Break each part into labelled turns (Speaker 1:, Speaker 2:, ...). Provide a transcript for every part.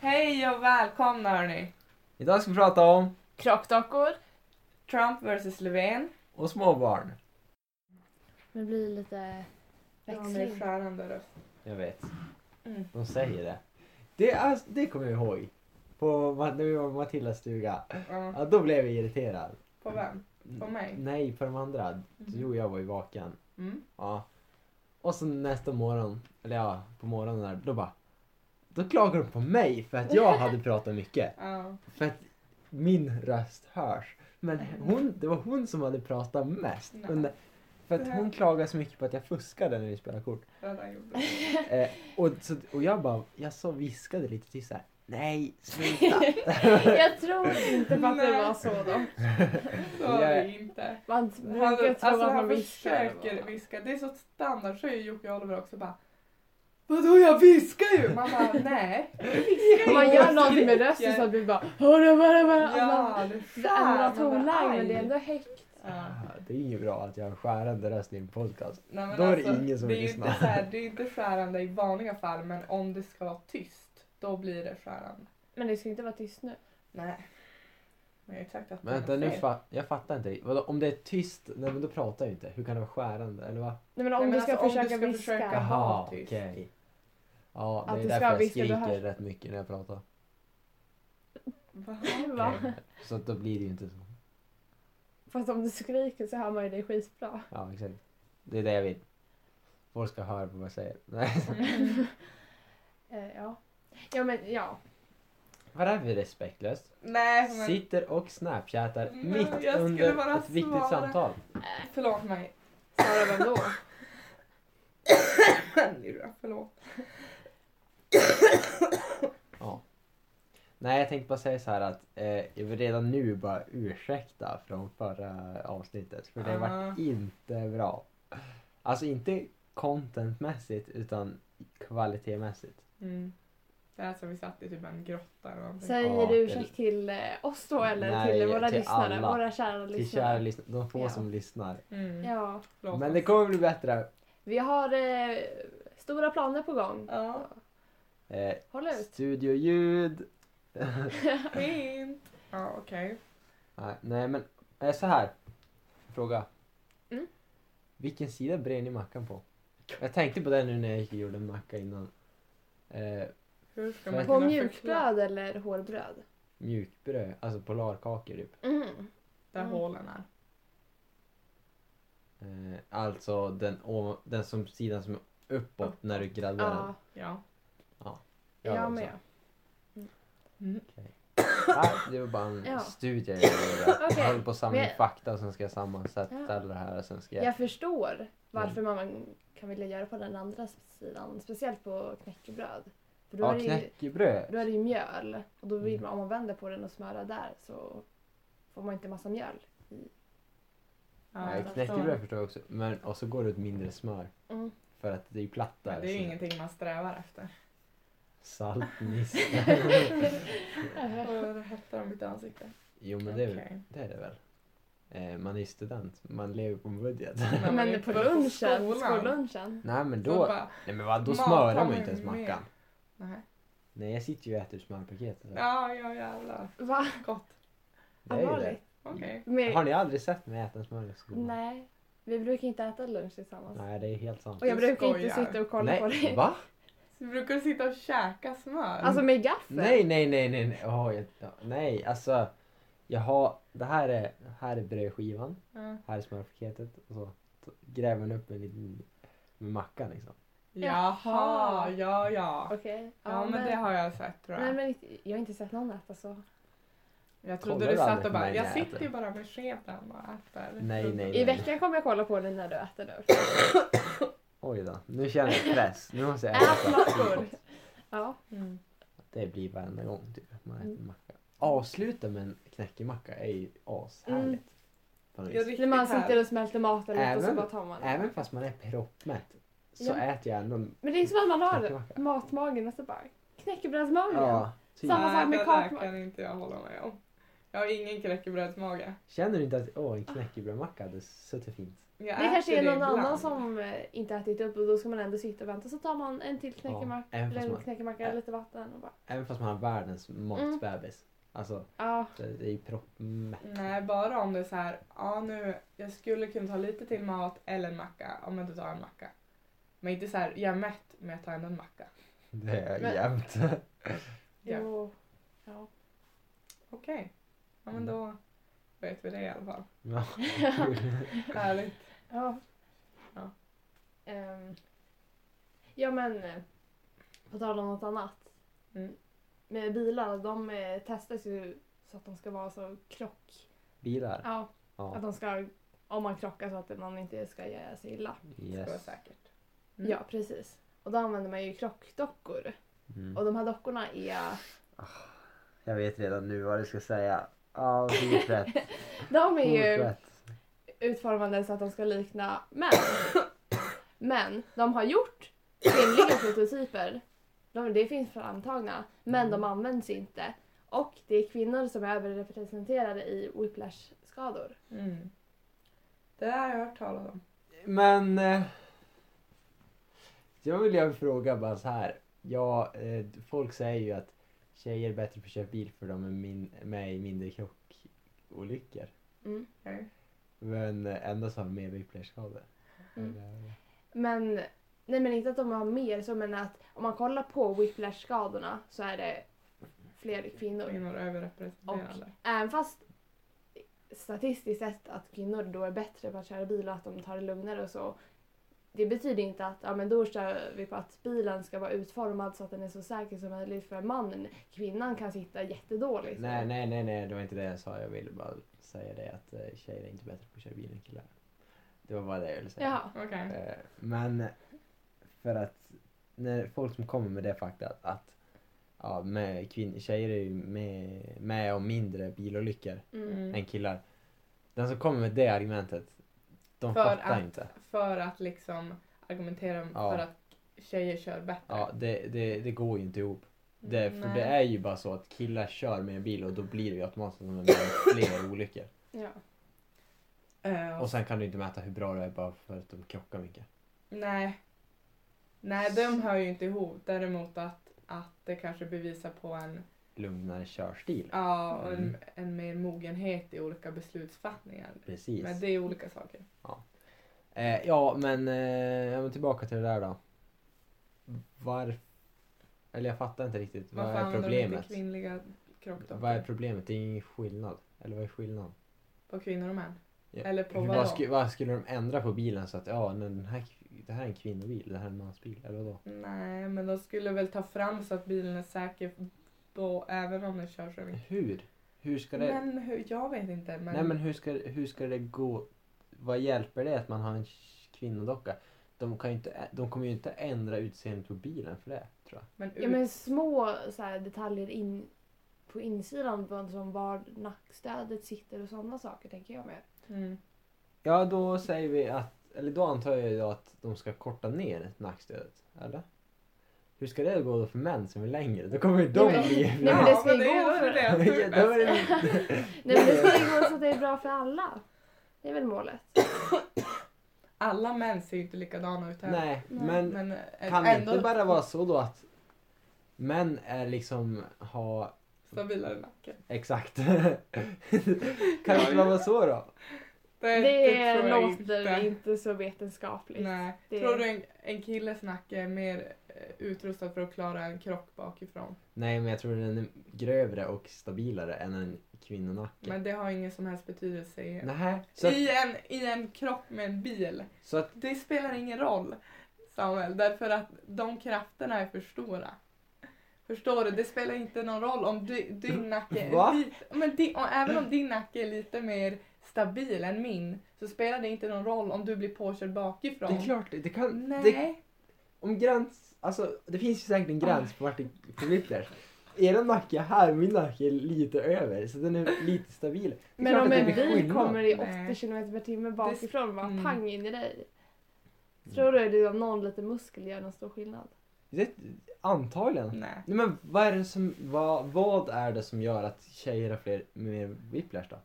Speaker 1: Hej och välkomna hörni!
Speaker 2: Idag ska vi prata om
Speaker 3: Krockdockor.
Speaker 1: Trump vs Löfven.
Speaker 2: och småbarn.
Speaker 3: Det blir lite
Speaker 1: Ja, det är skärande röst.
Speaker 2: Jag vet.
Speaker 1: Mm.
Speaker 2: De säger det. Det, är alltså, det kommer jag ihåg. På, Ma- när vi var på Matillas stuga.
Speaker 1: Ja,
Speaker 2: Ja, då blev jag irriterad.
Speaker 1: på vem? Mm. På mig?
Speaker 2: Nej, på de andra. Jo, jag var ju vaken.
Speaker 1: Mm.
Speaker 2: Ja. Och så nästa morgon, eller ja, på morgonen där, då bara. Då klagar de på mig för att jag hade pratat mycket.
Speaker 1: Ja.
Speaker 2: För att min röst hörs. Men hon, det var hon som hade pratat mest.
Speaker 1: Nej.
Speaker 2: Under, för att hon klagade så mycket på att jag fuskade när vi spelade kort.
Speaker 1: Redan gjorde det.
Speaker 2: Eh, och, så, och jag bara, jag så viskade lite tyst såhär. Nej, sluta!
Speaker 3: Jag tror inte på att det var så då.
Speaker 1: Så var det
Speaker 2: Jag-
Speaker 1: ju inte.
Speaker 3: Man
Speaker 1: Han,
Speaker 3: brukar tro
Speaker 1: alltså
Speaker 3: att man
Speaker 1: han
Speaker 3: viskar.
Speaker 1: försöker viska. Det är så standard. Så är ju Jocke och Oliver också bara Vadå jag viskar ju! Man bara nej.
Speaker 3: Man gör någonting med rösten så att vi bara hörru, hörru, hörru. Och Alltså, man
Speaker 1: Ja, det
Speaker 3: Ändrar tonläge men det är ändå högt.
Speaker 1: Ja.
Speaker 2: Ah, det är inget bra att jag har skärande röst i en podcast.
Speaker 1: Nej, men
Speaker 2: Då är det
Speaker 1: alltså,
Speaker 2: ingen som
Speaker 1: det är ju
Speaker 2: lyssnar.
Speaker 1: Inte så här, det är ju inte skärande i vanliga fall men om det ska vara tyst då blir det skärande.
Speaker 3: Men det ska inte vara tyst nu.
Speaker 1: Nej. Men jag har ju sagt att
Speaker 2: Men
Speaker 1: det
Speaker 2: vänta,
Speaker 1: är
Speaker 2: nu
Speaker 1: fel.
Speaker 2: fa- jag fattar inte. Vadå, om det är tyst, nej men då pratar jag ju inte. Hur kan det vara skärande? Eller va?
Speaker 3: Nej, men om
Speaker 1: Nej, men
Speaker 3: du ska
Speaker 1: alltså, om du
Speaker 3: försöka
Speaker 1: ska
Speaker 3: viska.
Speaker 1: försöka- Jaha,
Speaker 2: Jaha, okej.
Speaker 1: tyst.
Speaker 2: Ja, det
Speaker 3: Att
Speaker 2: är
Speaker 3: du
Speaker 2: därför
Speaker 3: ska
Speaker 2: jag
Speaker 3: viska, då
Speaker 2: skriker
Speaker 3: hörs-
Speaker 2: rätt mycket när jag pratar.
Speaker 1: Va?
Speaker 3: Va?
Speaker 2: Eh, Så att då blir det ju inte så.
Speaker 3: Fast om du skriker så hör man ju dig skitbra.
Speaker 2: Ja, exakt. Det är det jag vill. Folk ska höra på vad jag säger. Nej.
Speaker 1: Mm.
Speaker 3: Eh, ja. Ja men ja.
Speaker 2: Vad är det för respektlöst?
Speaker 1: Nej men
Speaker 2: Sitter och snapchattar
Speaker 1: Nej, jag
Speaker 2: mitt
Speaker 1: skulle
Speaker 2: under
Speaker 1: bara
Speaker 2: ett viktigt
Speaker 1: svara.
Speaker 2: samtal.
Speaker 1: förlåt mig.
Speaker 3: Svarar vem då?
Speaker 1: Njura, förlåt.
Speaker 2: Ja. Nej, jag tänkte bara säga så här att eh, jag vill redan nu bara ursäkta från förra avsnittet. För det
Speaker 1: Ja.
Speaker 3: Ah.
Speaker 2: var inte bra. Alltså inte contentmässigt utan kvalitetmässigt.
Speaker 1: Mm. Det är som vi satt i typ en grotta eller någonting.
Speaker 3: Säger
Speaker 2: Ja,
Speaker 3: du
Speaker 2: det-
Speaker 3: ursäkt till eh, oss då eller
Speaker 2: Nej,
Speaker 3: till våra
Speaker 2: till
Speaker 3: lyssnare?
Speaker 2: alla.
Speaker 3: Våra kära
Speaker 2: Till kära
Speaker 3: lyssnare.
Speaker 2: lyssnare, de få
Speaker 3: Ja.
Speaker 2: som lyssnar.
Speaker 1: Mm.
Speaker 3: Ja.
Speaker 1: förlåt
Speaker 2: Men
Speaker 1: oss.
Speaker 2: det kommer bli bättre.
Speaker 3: Vi har eh, stora planer på gång.
Speaker 1: Ja,
Speaker 2: Eh,
Speaker 3: Håll ut.
Speaker 2: studioljud.
Speaker 1: fint. Ja, okej.
Speaker 2: Nej, nej men eh, så här. Fråga.
Speaker 3: Mm.
Speaker 2: Vilken sida brer ni mackan på? Jag tänkte på det nu när jag gick och gjorde en macka innan. Eh,
Speaker 1: Hur ska
Speaker 2: På
Speaker 1: man
Speaker 3: På
Speaker 1: kunna förklara
Speaker 3: mjukbröd eller hårbröd?
Speaker 2: mjukbröd, alltså polarkakor typ.
Speaker 3: Mm.
Speaker 1: där
Speaker 3: Mm.
Speaker 1: hålen är?
Speaker 2: Eh, alltså den, ovan- den som, sidan som är uppåt när du graddar den.
Speaker 3: Ja,
Speaker 1: Ja.
Speaker 2: Jag
Speaker 3: jag
Speaker 2: också.
Speaker 3: med.
Speaker 1: Mm.
Speaker 2: Ah, det var bara en
Speaker 3: Ja.
Speaker 2: studie jag gjorde.
Speaker 3: Okej,
Speaker 2: Jag håller på att samla
Speaker 3: men-
Speaker 2: in fakta och sen ska jag sammansätta
Speaker 3: Ja.
Speaker 2: det här och sen ska jag...
Speaker 3: Jag förstår varför
Speaker 2: Mm.
Speaker 3: man kan vilja göra på den andra sidan. Speciellt på knäckebröd. För då,
Speaker 2: Ja, Mm.
Speaker 3: är, det ju,
Speaker 2: knäckebröd.
Speaker 3: då är det ju mjöl. Och då vill man, om man vänder på den och smörar där så får man inte massa mjöl.
Speaker 1: Ja,
Speaker 2: Nej,
Speaker 1: jag
Speaker 2: knäckebröd
Speaker 1: förstår.
Speaker 2: förstår jag också. Men, och så går det ut mindre smör.
Speaker 3: Mm.
Speaker 2: För att det är ju platt där.
Speaker 1: Men det är ju
Speaker 2: så-
Speaker 1: ingenting man strävar efter.
Speaker 2: Saltnista.
Speaker 1: Och det hettar om mitt ansikte.
Speaker 2: jo men det är,
Speaker 1: Okej.
Speaker 2: det är det väl. Eh, man är ju student, man lever på en budget.
Speaker 1: Nej, men
Speaker 3: Men på lunchen,
Speaker 1: skolan.
Speaker 3: skollunchen.
Speaker 2: nej men
Speaker 1: Så
Speaker 2: då,
Speaker 1: bara,
Speaker 2: nej, men vad, då
Speaker 1: Mat
Speaker 2: smörar
Speaker 1: har
Speaker 2: man
Speaker 1: man
Speaker 2: ju inte ens
Speaker 1: ju med.
Speaker 2: mackan.
Speaker 1: nej.
Speaker 2: Nej jag sitter ju och äter smörpaket. alltså.
Speaker 1: Ja, ja jävlar.
Speaker 3: Va?
Speaker 1: Gott.
Speaker 2: Det är ju det.
Speaker 3: Allvarligt?
Speaker 1: Okej.
Speaker 3: Men-
Speaker 2: Har ni aldrig sett mig äta en smör i skolan?
Speaker 3: Nej, vi brukar inte äta lunch tillsammans.
Speaker 2: Nej det är helt sant.
Speaker 3: Och jag
Speaker 1: Du
Speaker 3: brukar inte
Speaker 1: skojar.
Speaker 3: sitta och kolla på
Speaker 2: nej,
Speaker 3: dig.
Speaker 2: va?
Speaker 1: Så brukar du sitta och käka smör?
Speaker 3: Alltså med gaffel.
Speaker 2: Nej nej nej nej nej. Åh, jag, ja, nej alltså. Jag har, det här är, här är brödskivan,
Speaker 1: Ja.
Speaker 2: här är smörpaketet och så t- gräver man upp en liten med mackan liksom.
Speaker 1: Jaha, ja ja.
Speaker 3: Okej.
Speaker 1: Ja men det har jag sett tror
Speaker 3: Nej
Speaker 1: jag.
Speaker 3: men inte- jag har inte sett någon alltså. äta så.
Speaker 1: Jag trodde
Speaker 2: Kollar
Speaker 1: du
Speaker 2: du
Speaker 1: satt
Speaker 2: aldrig
Speaker 1: och
Speaker 2: på
Speaker 1: bara,
Speaker 2: mig
Speaker 1: jag
Speaker 2: när jag
Speaker 1: sitter ju
Speaker 2: äter?
Speaker 1: bara med skeden och äter.
Speaker 2: Nej, nej.
Speaker 3: I veckan kommer jag kolla på dig när du äter lunch.
Speaker 2: Oj då, nu känner jag stress. Nu måste jag
Speaker 3: Ät
Speaker 2: äta.
Speaker 3: mackor! Ja.
Speaker 1: Mm.
Speaker 2: Det blir varenda gång typ. Man äter
Speaker 3: Mm.
Speaker 2: macka. Avsluta med en knäckemacka är ju ashärligt. på något
Speaker 1: Jag
Speaker 2: vis.
Speaker 3: När man sitter och smälter maten lite och så
Speaker 2: Även-
Speaker 3: bara tar man Mm. det.
Speaker 2: Även fast man är proppmätt så
Speaker 3: Ja.
Speaker 2: äter jag ändå.
Speaker 3: Men det är som att man har
Speaker 2: Knäckemacka.
Speaker 3: matmagen och så bara knäckebrödsmagen.
Speaker 2: Ja, typ.
Speaker 3: Samma sak med
Speaker 1: kakor. Det där
Speaker 3: kakor.
Speaker 1: kan inte jag hålla med om. Jag har ingen knäckebrödsmage.
Speaker 2: Känner du inte att åh, en
Speaker 3: Ah.
Speaker 2: knäckebrödmacka hade suttit fint?
Speaker 1: Jag
Speaker 3: Det kanske
Speaker 1: äter
Speaker 3: är någon
Speaker 1: ibland.
Speaker 3: annan som eh, inte ätit upp och då ska man ändå sitta och vänta. Så tar man en till knäckemacka,
Speaker 2: Ja, en
Speaker 3: eller en
Speaker 2: fast
Speaker 3: knäckemacka, lite vatten och bara...
Speaker 2: Även fast man har världens matbebis.
Speaker 3: Mm.
Speaker 2: Alltså,
Speaker 3: Ja,
Speaker 2: det, det är ju proppmätt.
Speaker 1: Nej, bara om det är så här, ja nu, jag skulle kunna ta lite till mat eller en macka, ja men då tar jag en macka. Men inte så här, jag är mätt men jag tar ändå en macka.
Speaker 2: Det är
Speaker 3: Men-
Speaker 2: jämnt.
Speaker 1: Ja.
Speaker 3: jo. Ja.
Speaker 1: Okej, ja men då vet vi det i alla fall.
Speaker 2: Ja.
Speaker 1: Härligt.
Speaker 3: Ja.
Speaker 1: Ja.
Speaker 3: Ehm, ja men, eh, på tal om något annat.
Speaker 1: Mm.
Speaker 3: Med bilar, de eh, testas ju så att de ska vara så krock...
Speaker 2: Bilar.
Speaker 3: Ja, att
Speaker 2: Ja.
Speaker 3: de ska... Om man krockar så att man inte ska göra sig illa.
Speaker 1: Ska vara
Speaker 2: Yes.
Speaker 1: säkert. Mm.
Speaker 3: Ja, precis. Och då använder man ju krockdockor.
Speaker 2: Mm.
Speaker 3: Och de här dockorna är...
Speaker 2: Jag vet redan nu vad du ska säga. Ja, helt rätt.
Speaker 3: De är
Speaker 2: Helt
Speaker 3: ju
Speaker 2: rätt.
Speaker 3: utformade så att de ska likna män. Men de har gjort kvinnliga prototyper. De, det finns framtagna. Men de används inte. Och det är kvinnor som är överrepresenterade i whiplash-skador.
Speaker 1: Mm. Det där har jag hört talas om.
Speaker 2: Men... Eh, jag vill ju fråga bara så här. Ja, eh, folk säger ju att tjejer är bättre på att köra bil för de är min, med i mindre krockolyckor.
Speaker 3: Mm.
Speaker 1: Okej.
Speaker 2: Men eh, ändå så har de mer whiplash-skador.
Speaker 3: Mm.
Speaker 2: Eller- eh,
Speaker 3: Men, nej men inte att de har mer så men att om man kollar på whiplash-skadorna så är det fler kvinnor.
Speaker 1: Kvinnor är överrepresenterade.
Speaker 3: Även fast statistiskt sett att kvinnor då är bättre på att köra bil och att de tar det lugnare och så. Det betyder inte att ja, men då kör vi på att bilen ska vara utformad så att den är så säker som möjligt för mannen. Kvinnan kan sitta jättedåligt.
Speaker 2: Nej, nej, nej, nej, det var inte det jag sa. Jag ville bara säga det att eh, tjejer är inte bättre på att köra bil än killar. Det var bara det jag ville säga.
Speaker 3: Jaha.
Speaker 1: Okej.
Speaker 2: Eh, Men för att när folk som kommer med det faktat att ja, med kvin- tjejer är ju med, med om mindre bilolyckor
Speaker 3: Mm.
Speaker 2: än killar. Den som kommer med det argumentet, de
Speaker 1: För
Speaker 2: fattar
Speaker 1: att-
Speaker 2: inte.
Speaker 1: För att liksom argumentera
Speaker 2: Ja.
Speaker 1: för att tjejer kör bättre.
Speaker 2: Ja, det, det, det går ju inte ihop. Det, för
Speaker 1: Mm, Nej.
Speaker 2: det är ju bara så att killar kör med en bil och då blir det ju automatiskt att de är med om fler olyckor.
Speaker 3: Ja.
Speaker 1: Eh,
Speaker 2: Och sen kan du inte mäta hur bra du är bara för att de krockar mycket.
Speaker 1: Nej. Nej, de hör ju inte ihop. Däremot att, att det kanske bevisar på en,
Speaker 2: Lugnare körstil.
Speaker 1: ja, och en,
Speaker 2: Mm.
Speaker 1: en mer mogenhet i olika beslutsfattningar.
Speaker 2: Precis.
Speaker 1: Men det är olika saker.
Speaker 2: Eh, ja, men eh, ja, men tillbaka till det där då. Varför? Eller jag fattar inte riktigt. Vad
Speaker 1: Varför
Speaker 2: är
Speaker 1: använder de inte
Speaker 2: problemet?
Speaker 1: kvinnliga
Speaker 2: Vad är
Speaker 1: kroppsdockor
Speaker 2: problemet? Det är ingen skillnad. Eller vad är skillnaden?
Speaker 1: på kvinnor och män?
Speaker 2: Ja.
Speaker 1: Eller på
Speaker 2: Hur-
Speaker 1: vad
Speaker 2: vad,
Speaker 1: då?
Speaker 2: sku, vad skulle de ändra på bilen så att ja, nej, den här, det här är en kvinnobil, det här är en mansbil, eller vadå?
Speaker 1: Nej, men de skulle väl ta fram så att bilen är säker då, även om den körs över.
Speaker 2: Hur? Hur ska det...
Speaker 1: Men hur, jag vet inte. Men,
Speaker 2: nej men hur ska, hur ska det gå? Vad hjälper det att man har en kvinnodocka? De, kan ju inte, ä- de kommer ju inte ändra utseendet på bilen för det, tror jag.
Speaker 1: men,
Speaker 3: ja men små så här, detaljer in, på insidan på- som var nackstödet sitter och sådana saker tänker jag mer.
Speaker 1: Mm.
Speaker 2: Ja, då säger vi att, eller då antar jag ju att de ska korta ner nackstödet, eller? Hur ska det gå då för män som är längre? Då kommer ju de
Speaker 3: Nej, men-
Speaker 2: bli...
Speaker 3: Nej, men det ska
Speaker 1: men
Speaker 3: ju
Speaker 1: är
Speaker 3: gå
Speaker 1: väl
Speaker 3: för-
Speaker 1: det som
Speaker 2: Ja,
Speaker 1: är
Speaker 2: då är
Speaker 1: bäst.
Speaker 2: det-
Speaker 3: Nej men det ska ju gå så att det är bra för alla. Det är väl målet.
Speaker 1: Alla män ser ju inte likadana ut heller.
Speaker 2: Nej,
Speaker 3: Nej.
Speaker 2: men
Speaker 1: Men eh,
Speaker 2: kan det
Speaker 1: ändå
Speaker 2: inte bara vara så då att män är liksom, ha,
Speaker 1: stabilare nacken.
Speaker 2: exakt. kan det inte bara vara så då?
Speaker 1: Det,
Speaker 3: Det
Speaker 1: tror jag
Speaker 3: låter
Speaker 1: inte.
Speaker 3: inte så vetenskapligt.
Speaker 1: Nej.
Speaker 3: Det-
Speaker 1: Tror du en, en killes nacke är mer eh, utrustad för att klara en krock bakifrån?
Speaker 2: Nej, men jag tror den är grövre och stabilare än en kvinnonacke.
Speaker 1: Men det har ingen som helst betydelse i,
Speaker 2: Nähä, så, att,
Speaker 1: i, en, i en krock med en bil.
Speaker 2: så att,
Speaker 1: Det spelar ingen roll Samuel, därför att de krafterna är för stora. Förstår du? Det spelar inte någon roll om du, din nacke
Speaker 2: Mm. Va?
Speaker 1: är lite, men din, och även om din nacke är lite mer stabil än min så spelar det inte någon roll om du blir påkörd bakifrån.
Speaker 2: det är klart, det kan,
Speaker 1: Nej.
Speaker 2: det, om gräns, alltså det finns ju säkert en gräns på vart det förflyttar. Era nacke är här, min nacke är lite över så den är lite stabil. Det är
Speaker 3: Men
Speaker 2: klart
Speaker 3: om
Speaker 2: att det
Speaker 3: en
Speaker 2: blir
Speaker 3: bil
Speaker 2: skillnad.
Speaker 3: kommer i
Speaker 1: Nej.
Speaker 3: 80 km per timme bakifrån och bara
Speaker 1: Mm.
Speaker 2: Mm.
Speaker 3: pang in i dig. Tror du att någon liten muskel gör någon stor skillnad?
Speaker 2: Det, antagligen.
Speaker 1: Nej.
Speaker 2: Nej, men vad är det som, vad, vad är det som gör att tjejer har fler, mer whiplash då?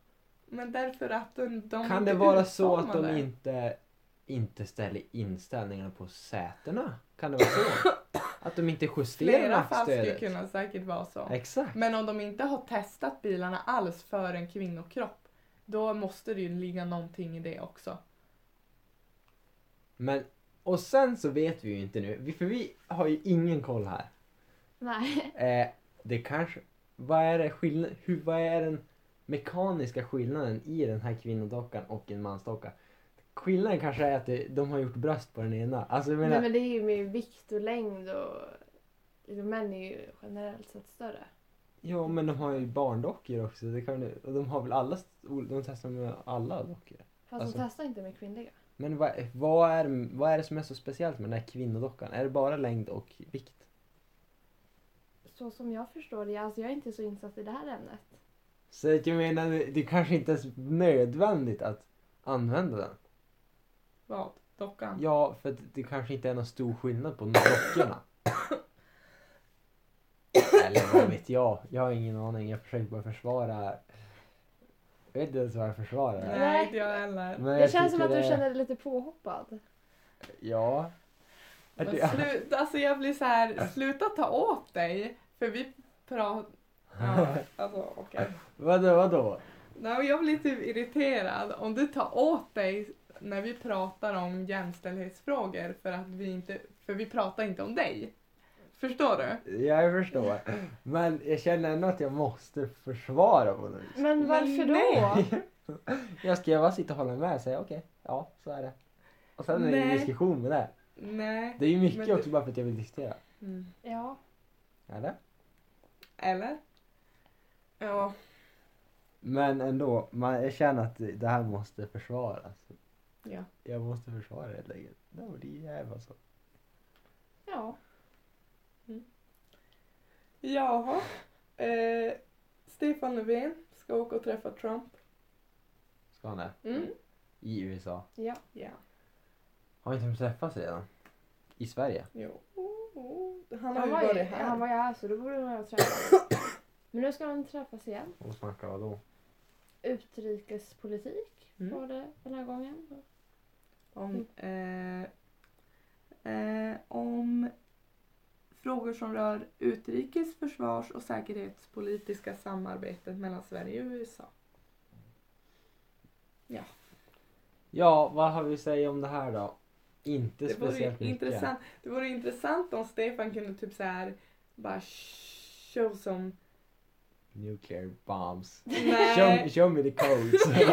Speaker 1: Men därför att de, de
Speaker 2: Kan
Speaker 1: inte
Speaker 2: det vara så att de
Speaker 1: utformade.
Speaker 2: inte, inte ställer inställningarna på sätena? Kan det vara så? Att de inte justerar
Speaker 1: Flera fall skulle
Speaker 2: nackstödet?
Speaker 1: kunna säkert vara så.
Speaker 2: Exakt.
Speaker 1: Men om de inte har testat bilarna alls för en kvinnokropp, då måste det ju ligga någonting i det också.
Speaker 2: Men, och sen så vet vi ju inte nu, vi- för vi har ju ingen koll här.
Speaker 3: Nej.
Speaker 2: Eh, det kanske, vad är det skillnad, hur, vad är den mekaniska skillnaden i den här kvinnodockan och en mansdocka? Skillnaden kanske är att det, de har gjort bröst på den ena. Alltså jag menar,
Speaker 3: Nej men det är ju med vikt och längd och liksom, män är ju generellt sett större.
Speaker 2: ja men de har ju barndockor också. Det kan, ju- och de har väl alla, de testar med alla dockor.
Speaker 3: Fast
Speaker 2: Alltså-
Speaker 3: de testar inte med kvinnliga.
Speaker 2: Men vad, vad, är, vad är det som är så speciellt med den här kvinnodockan? Är det bara längd och vikt?
Speaker 3: Så som jag förstår det, alltså jag är inte så insatt i det här ämnet.
Speaker 2: Så att jag menar, det är kanske inte ens nödvändigt att använda den.
Speaker 1: Vad? Dockan?
Speaker 2: Ja, för att det kanske inte är någon stor skillnad på dockorna. Eller vad vet jag? Jag har ingen aning. Jag försöker bara försvara. Jag vet inte ens vad jag försvarar.
Speaker 1: Nej,
Speaker 3: Nej.
Speaker 1: inte jag heller.
Speaker 2: Men
Speaker 3: det känns som
Speaker 2: tycker
Speaker 3: att du
Speaker 2: det-
Speaker 3: känner dig lite påhoppad.
Speaker 2: Ja.
Speaker 1: Men
Speaker 2: Att jag-
Speaker 1: sluta, alltså jag blir så här, sluta ta åt dig. För vi pratar... Ja, alltså okej.
Speaker 2: Vadå, vadå?
Speaker 1: Nej, men Jag blir typ irriterad om du tar åt dig när vi pratar om jämställdhetsfrågor för att vi inte, för vi pratar inte om dig. Förstår du?
Speaker 2: Jag förstår. Men jag känner ändå att jag måste försvara på något vis.
Speaker 3: Men varför då?
Speaker 2: Jag ska bara sitta och hålla med och säga okej, ja så är det. Och sen är det
Speaker 1: Nej.
Speaker 2: en diskussion med det.
Speaker 1: Nej.
Speaker 2: Det är ju mycket
Speaker 1: Men du-
Speaker 2: också bara för att jag vill diskutera.
Speaker 1: Mm.
Speaker 3: Ja.
Speaker 2: Eller?
Speaker 1: Eller? Ja.
Speaker 2: Men ändå, man, jag känner att det här måste försvaras.
Speaker 1: ja.
Speaker 2: Jag måste försvara det helt enkelt. Det var det jävla så.
Speaker 3: Ja.
Speaker 1: Jaha. Eh, Stefan Löfven ska åka och träffa Trump.
Speaker 2: Ska han det?
Speaker 1: Mm.
Speaker 2: I USA.
Speaker 3: Ja.
Speaker 1: Ja.
Speaker 2: Har inte de träffats redan? I Sverige?
Speaker 1: Jo. Han har
Speaker 3: Han
Speaker 1: ju
Speaker 3: var ju,
Speaker 1: varit här.
Speaker 3: han var ju här så då borde de ha träffats. Men nu ska de träffas igen.
Speaker 2: Och snacka vad då?
Speaker 3: Utrikespolitik
Speaker 1: Mm.
Speaker 3: var det den här gången.
Speaker 1: Om, eh, eh, om frågor som rör utrikes-, försvars och säkerhetspolitiska samarbetet mellan Sverige och USA.
Speaker 2: Ja, vad har vi att säga om det här då? Inte
Speaker 1: Det vore,
Speaker 2: speciellt mycket.
Speaker 1: intressant, det vore intressant om Stefan kunde typ så här bara show som...
Speaker 2: Nuclear bombs. Show,
Speaker 1: Nej,
Speaker 2: show me the codes. I'm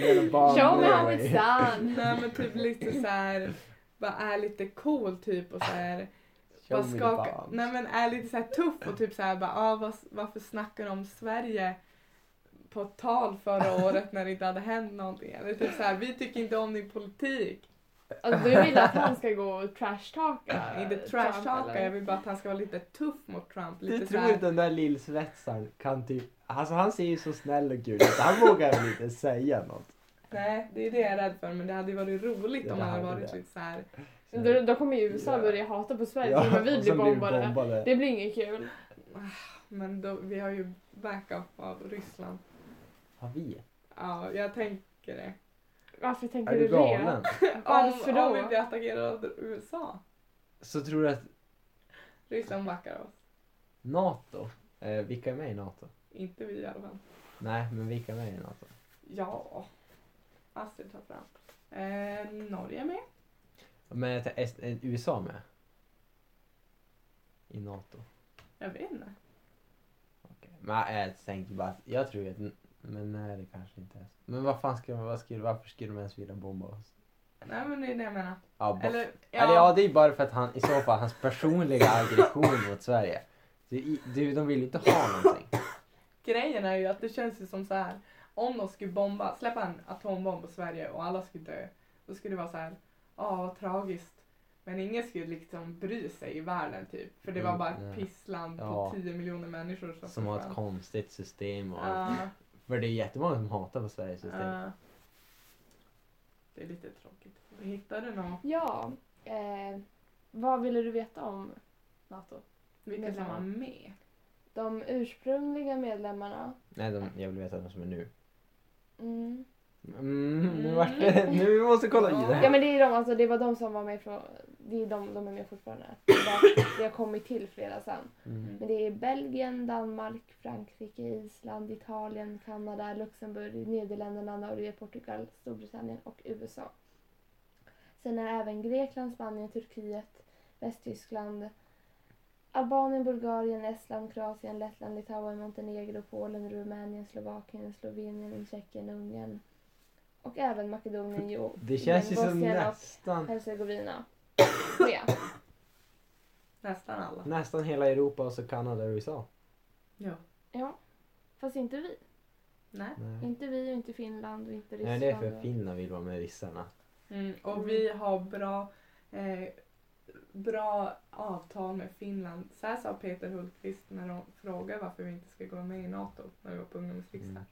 Speaker 2: gonna bomb
Speaker 3: Show me how
Speaker 2: Norway.
Speaker 3: it's done!
Speaker 1: nej men typ lite så här bara är lite cool typ och så här
Speaker 2: Show
Speaker 1: bara
Speaker 2: me the
Speaker 1: skaka,
Speaker 2: bombs.
Speaker 1: nej men är lite så här tuff och typ så här bara, ah, vad, varför snackar de om Sverige på ett tal förra året när det inte hade hänt någonting? Eller typ så här, vi tycker inte om din politik.
Speaker 3: Alltså, du vill att han ska gå och trashtalka?
Speaker 1: inte trash
Speaker 3: Trump,
Speaker 1: talka,
Speaker 3: eller?
Speaker 1: jag vill bara att han ska vara lite tuff mot Trump. Lite
Speaker 2: Du
Speaker 1: så
Speaker 2: tror
Speaker 1: här,
Speaker 2: att den där lillsvetsaren kan typ... Alltså han ser ju så snäll och gullig ut. Han vågar väl inte säga något.
Speaker 1: Nej, det är det jag är rädd för men det hade ju varit roligt
Speaker 2: Ja,
Speaker 1: om
Speaker 2: det
Speaker 1: han hade
Speaker 2: hade
Speaker 1: varit
Speaker 2: det.
Speaker 1: lite så här.
Speaker 3: Då, då kommer ju USA
Speaker 2: Ja.
Speaker 3: börja hata på Sverige ja, men vi
Speaker 2: och
Speaker 3: blir
Speaker 2: sen blir vi
Speaker 3: bombade. Det blir inget kul.
Speaker 1: Men då, vi har ju backup av Ryssland.
Speaker 2: Har vi?
Speaker 1: Ja, jag tänker det.
Speaker 3: Varför tänker
Speaker 2: Är
Speaker 3: du
Speaker 2: du
Speaker 3: det?
Speaker 2: galen?
Speaker 3: Varför
Speaker 1: om,
Speaker 3: då?
Speaker 1: Om vi blir attackerade av USA.
Speaker 2: Så tror du att
Speaker 1: Ryssland backar oss.
Speaker 2: NATO, eh, vilka är med i NATO?
Speaker 1: Inte vi i alla fall.
Speaker 2: Nej, men vilka är med i NATO?
Speaker 1: Ja. Astrid tar fram. Eh, Norge är med.
Speaker 2: Men jag tar- är är USA med? I NATO?
Speaker 1: Jag vet inte.
Speaker 2: Okej. Men eh, jag tänkte bara att jag tror att... Men nej, det kanske inte är så. Men vad fan skulle, vad skulle, varför skulle de ens vilja bomba oss?
Speaker 1: Nej men det är det jag menar.
Speaker 2: Ja, bo-
Speaker 1: Eller
Speaker 2: Ja. Eller ja, det är bara för att han i så fall, hans personliga aggression mot Sverige. Du, du, de vill ju inte ha någonting.
Speaker 1: grejen är ju att det känns ju som så här. Om de skulle bomba, släppa en atombomb på Sverige och alla skulle dö. Då skulle det vara så här. Ja, vad tragiskt. Men ingen skulle liksom bry sig i världen typ. För det var
Speaker 2: Mm,
Speaker 1: bara
Speaker 2: nej.
Speaker 1: ett pissland
Speaker 2: Ja.
Speaker 1: på 10 miljoner människor som
Speaker 2: Som har ett
Speaker 1: försvann.
Speaker 2: konstigt system och allt.
Speaker 1: Ja,
Speaker 2: För det är jättemånga som hatar på Sveriges system.
Speaker 1: ja. Det är lite tråkigt. Hittar du någon?
Speaker 3: Ja. Eh, vad ville du veta om Nato.
Speaker 1: Vilka som
Speaker 3: Medlemmar.
Speaker 1: var med.
Speaker 3: De ursprungliga medlemmarna.
Speaker 2: Nej, de, jag vill veta vem som är nu.
Speaker 3: Mm.
Speaker 2: Mm, nu vart det... Nu måste vi kolla i det
Speaker 3: Ja
Speaker 2: här.
Speaker 3: men det är de, alltså det var de som var med från, det är de, de är med fortfarande. Det, är bara, det har kommit till flera sen.
Speaker 2: Mm.
Speaker 3: Men det är Belgien, Danmark, Frankrike, Island, Italien, Kanada, Luxemburg, Nederländerna, Norge, Portugal, Storbritannien och USA. Sen är även Grekland, Spanien, Turkiet, Västtyskland, Albanien, Bulgarien, Estland, Kroatien, Lettland, Litauen, Montenegro, Polen, Rumänien, Slovakien, Slovenien, Tjeckien, Ungern och även Makedonien, Jo-
Speaker 2: Det känns ju som
Speaker 3: Bosnien och
Speaker 2: nästan,
Speaker 3: Hercegovina. Tre.
Speaker 1: Nästan alla.
Speaker 2: nästan hela Europa och så Kanada och USA.
Speaker 1: Ja.
Speaker 3: Ja, fast inte vi.
Speaker 1: Nej.
Speaker 2: Nej.
Speaker 3: Inte vi och inte Finland och inte
Speaker 2: Nej,
Speaker 3: Ryssland.
Speaker 2: det är för
Speaker 3: och-
Speaker 2: Finland vill vara med ryssarna.
Speaker 1: Mm. Och
Speaker 3: Mm.
Speaker 1: vi har bra, eh, bra avtal med Finland. Så här sa Peter Hultqvist när de frågade varför vi inte ska gå med i NATO när vi var på ungdomsriksdag.
Speaker 2: Mm.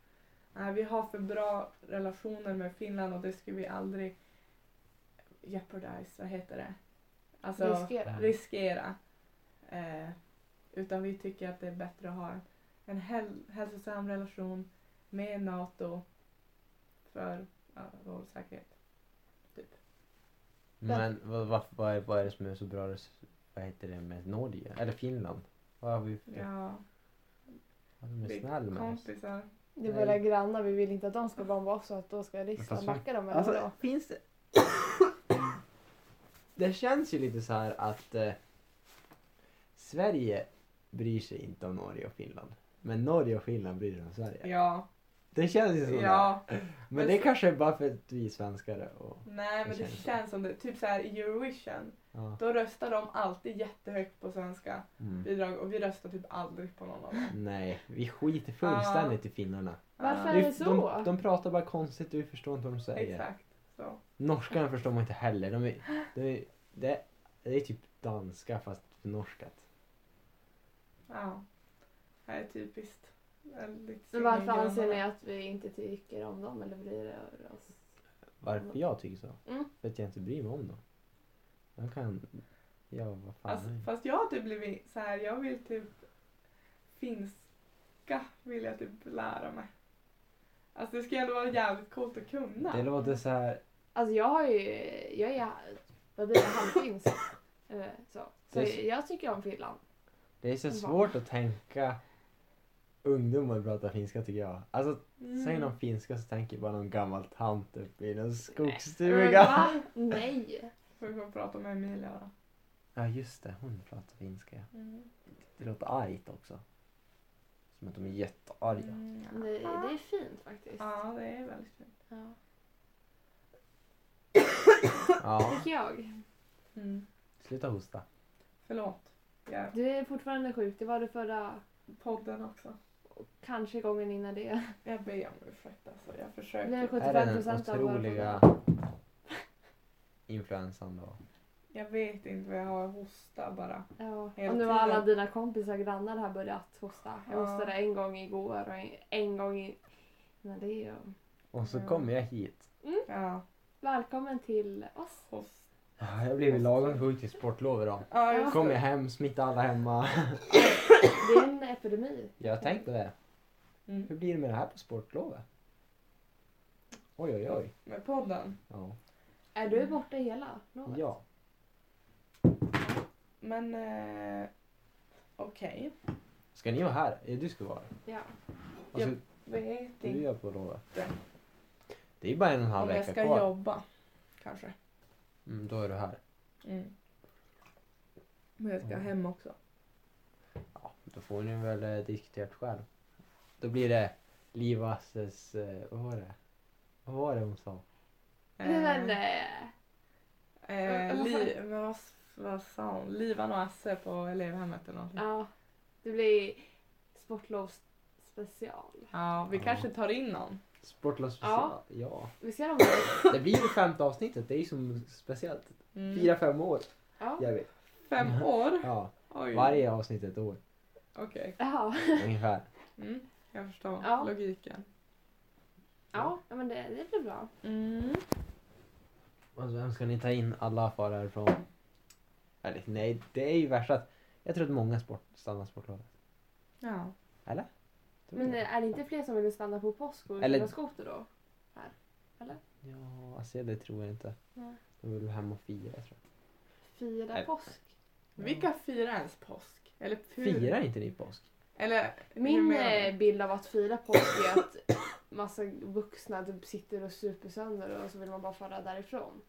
Speaker 1: Nej, vi har för bra relationer med Finland och det skulle vi aldrig jeopardize, vad heter det? Alltså
Speaker 3: Riskera.
Speaker 1: riskera. Eh, utan vi tycker att det är bättre att ha en, en häl- hälsosam relation med NATO för ja, vår säkerhet.
Speaker 2: Men vad, vad, vad, är, vad är det som är så bra res- vad heter det, med Norge? Eller Finland? Vad har vi för det?
Speaker 1: Ja,
Speaker 2: Att De är
Speaker 1: vi
Speaker 2: snälla med oss.
Speaker 1: kompisar.
Speaker 3: Det är
Speaker 2: Nej.
Speaker 3: våra grannar, vi vill inte att de ska bomba oss så att då ska
Speaker 2: Fast
Speaker 3: riksdagen
Speaker 2: man-
Speaker 3: backa dem eller
Speaker 2: Alltså,
Speaker 3: vadå?
Speaker 2: finns det... det känns ju lite så här att eh, Sverige bryr sig inte om Norge och Finland. Men Norge och Finland bryr sig om Sverige.
Speaker 1: Ja,
Speaker 2: Det känns ju så. där.
Speaker 1: ja.
Speaker 2: Men det kanske är bara för att vi är svenskar. Och,
Speaker 1: Nej men det
Speaker 2: känns så.
Speaker 1: känns som det. Typ så här i Eurovision,
Speaker 2: ja.
Speaker 1: då röstar de alltid jättehögt på svenska
Speaker 2: mm.
Speaker 1: bidrag och vi röstar typ aldrig på någon av dem.
Speaker 2: Nej, vi skiter fullständigt i finnarna.
Speaker 3: Varför?
Speaker 1: Ja,
Speaker 3: är det så?
Speaker 2: De, de pratar bara konstigt och vi förstår inte vad de säger.
Speaker 1: Exakt. Så.
Speaker 2: Norskan förstår man inte heller. De är, de är, det, är, det är typ danska fast norskat.
Speaker 1: Ja. Det här är typiskt. Väldigt
Speaker 3: Men varför
Speaker 1: synd om
Speaker 3: anser ni
Speaker 1: grannarna.
Speaker 3: att vi inte tycker om dem eller bryr er oss?
Speaker 2: Varför jag tycker så?
Speaker 3: Mm.
Speaker 2: För att jag inte bryr mig om dem. De kan... Ja, vad fan.
Speaker 1: Alltså,
Speaker 2: är det?
Speaker 1: fast jag har typ blivit så här, jag vill typ finska vill jag typ lära mig. Alltså det ska ju ändå vara jävligt coolt att kunna.
Speaker 2: det låter så här...
Speaker 3: Alltså jag har ju, jag är, vad blir det, halvfinsk. Eh, Så. så
Speaker 2: Det är så-
Speaker 3: jag tycker om Finland.
Speaker 2: Det är så
Speaker 3: Va?
Speaker 2: svårt att tänka ungdomar prata finska tycker jag. Alltså,
Speaker 1: Mm.
Speaker 2: säger någon finska så tänker jag bara någon gammal tant uppe i någon
Speaker 1: Men
Speaker 2: skogsstuga.
Speaker 1: va?
Speaker 3: Nej!
Speaker 1: Får vi prata med Emilia då?
Speaker 2: Ja, just det. Hon pratar finska. ja.
Speaker 1: Mm.
Speaker 2: Det låter argt också. Som att de är jättearga.
Speaker 1: Mm.
Speaker 3: Det, det är fint faktiskt.
Speaker 1: Ja, det är väldigt fint.
Speaker 3: Ja.
Speaker 2: Ja,
Speaker 3: Tycker jag.
Speaker 2: sluta hosta.
Speaker 1: Mm. Förlåt. Ja,
Speaker 3: Du är fortfarande sjuk, det var det förra,
Speaker 1: podden också.
Speaker 3: kanske gången innan det.
Speaker 1: Jag ber om ursäkt alltså. Jag
Speaker 3: Nu är det
Speaker 1: försöker.
Speaker 2: Är det den
Speaker 3: 75% av våra
Speaker 2: otroliga
Speaker 3: program.
Speaker 2: influensan då?
Speaker 1: Jag vet inte vad jag har. Hosta
Speaker 3: Mm.
Speaker 1: bara.
Speaker 3: Ja,
Speaker 1: Hela
Speaker 3: och nu har alla
Speaker 1: tiden.
Speaker 3: dina kompisar och grannar här börjat hosta. Jag
Speaker 1: Ja.
Speaker 3: hostade en gång igår och en, en gång i... Men det är ju...
Speaker 2: Och så
Speaker 1: Ja.
Speaker 2: kommer jag hit.
Speaker 1: Ja,
Speaker 3: Välkommen till oss.
Speaker 1: host.
Speaker 2: Ja, Jag blev ju lagom sjuk till sportlov idag.
Speaker 1: Ja,
Speaker 3: Ja.
Speaker 1: just
Speaker 2: Kom jag
Speaker 1: det.
Speaker 2: hem, smittade alla hemma.
Speaker 3: Det är en epidemi.
Speaker 2: Jag tänkte det.
Speaker 1: Mm.
Speaker 2: Hur blir det med det här på sportlovet? Oj, oj, oj.
Speaker 1: Med podden.
Speaker 2: Ja.
Speaker 3: Är du borta hela lovet?
Speaker 2: ja.
Speaker 1: Men eh, okej.
Speaker 2: Ska ni vara här? Ja, Du ska vara här.
Speaker 3: Ja.
Speaker 2: Och så
Speaker 1: Ja. Vet
Speaker 2: du
Speaker 1: inte
Speaker 2: gör på lovet. Det är bara en och en halv
Speaker 1: om jag
Speaker 2: vecka
Speaker 1: ska
Speaker 2: kvar.
Speaker 1: jobba. Kanske.
Speaker 2: Mm, då är du här.
Speaker 1: Mm. Men jag ska
Speaker 2: Mm.
Speaker 1: hem också.
Speaker 2: Ja, då får ni väl eh, diskutera själv. Då blir det Livasses... Eh, vad var det? Vad var det hon sa?
Speaker 3: Men...
Speaker 1: Eh,
Speaker 3: eh,
Speaker 1: eh, li, men vad, vad sa hon? Livan och Asse på elevhemmet eller någonting.
Speaker 3: Ja. Det blir sportlovsspecial.
Speaker 1: Ja, vi
Speaker 2: Ja.
Speaker 1: kanske tar in någon.
Speaker 2: Sportlov
Speaker 3: Ja.
Speaker 2: special. Ja.
Speaker 3: Vi ser om det...
Speaker 2: Det blir det femte avsnittet. Det är ju som speciellt.
Speaker 1: Mm.
Speaker 2: Fyra, fem år.
Speaker 3: Ja.
Speaker 2: Jag vet.
Speaker 1: Fem år?
Speaker 2: Ja.
Speaker 1: Oj.
Speaker 2: Varje avsnitt ett år.
Speaker 1: Okej.
Speaker 3: Ja.
Speaker 2: Ungefär.
Speaker 1: Mm. Jag förstår
Speaker 3: Ja.
Speaker 1: logiken.
Speaker 3: Ja, ja, men det, det blir bra.
Speaker 1: Mm.
Speaker 2: Och vem ska ni ta in? Alla far härifrån. Eller nej, det är ju värst att Jag tror att många sport stannar sportlovet.
Speaker 1: Ja.
Speaker 2: Tror
Speaker 3: Men
Speaker 2: du?
Speaker 3: är det inte fler som vill stanna på påsk och
Speaker 2: Eller-
Speaker 3: köra skoter då? Här? Eller?
Speaker 2: Ja, alltså det tror jag inte.
Speaker 3: Nej.
Speaker 2: De vill vara hemma och fira tror jag.
Speaker 3: Fira
Speaker 2: Nej.
Speaker 3: påsk?
Speaker 1: Vilka firar ens påsk? Eller hur?
Speaker 2: Firar inte ni påsk?
Speaker 1: Eller hur
Speaker 3: Min
Speaker 1: menar du?
Speaker 3: eh, bild av att fira påsk är att massa vuxna typ sitter och super sönder och så vill man bara fara därifrån.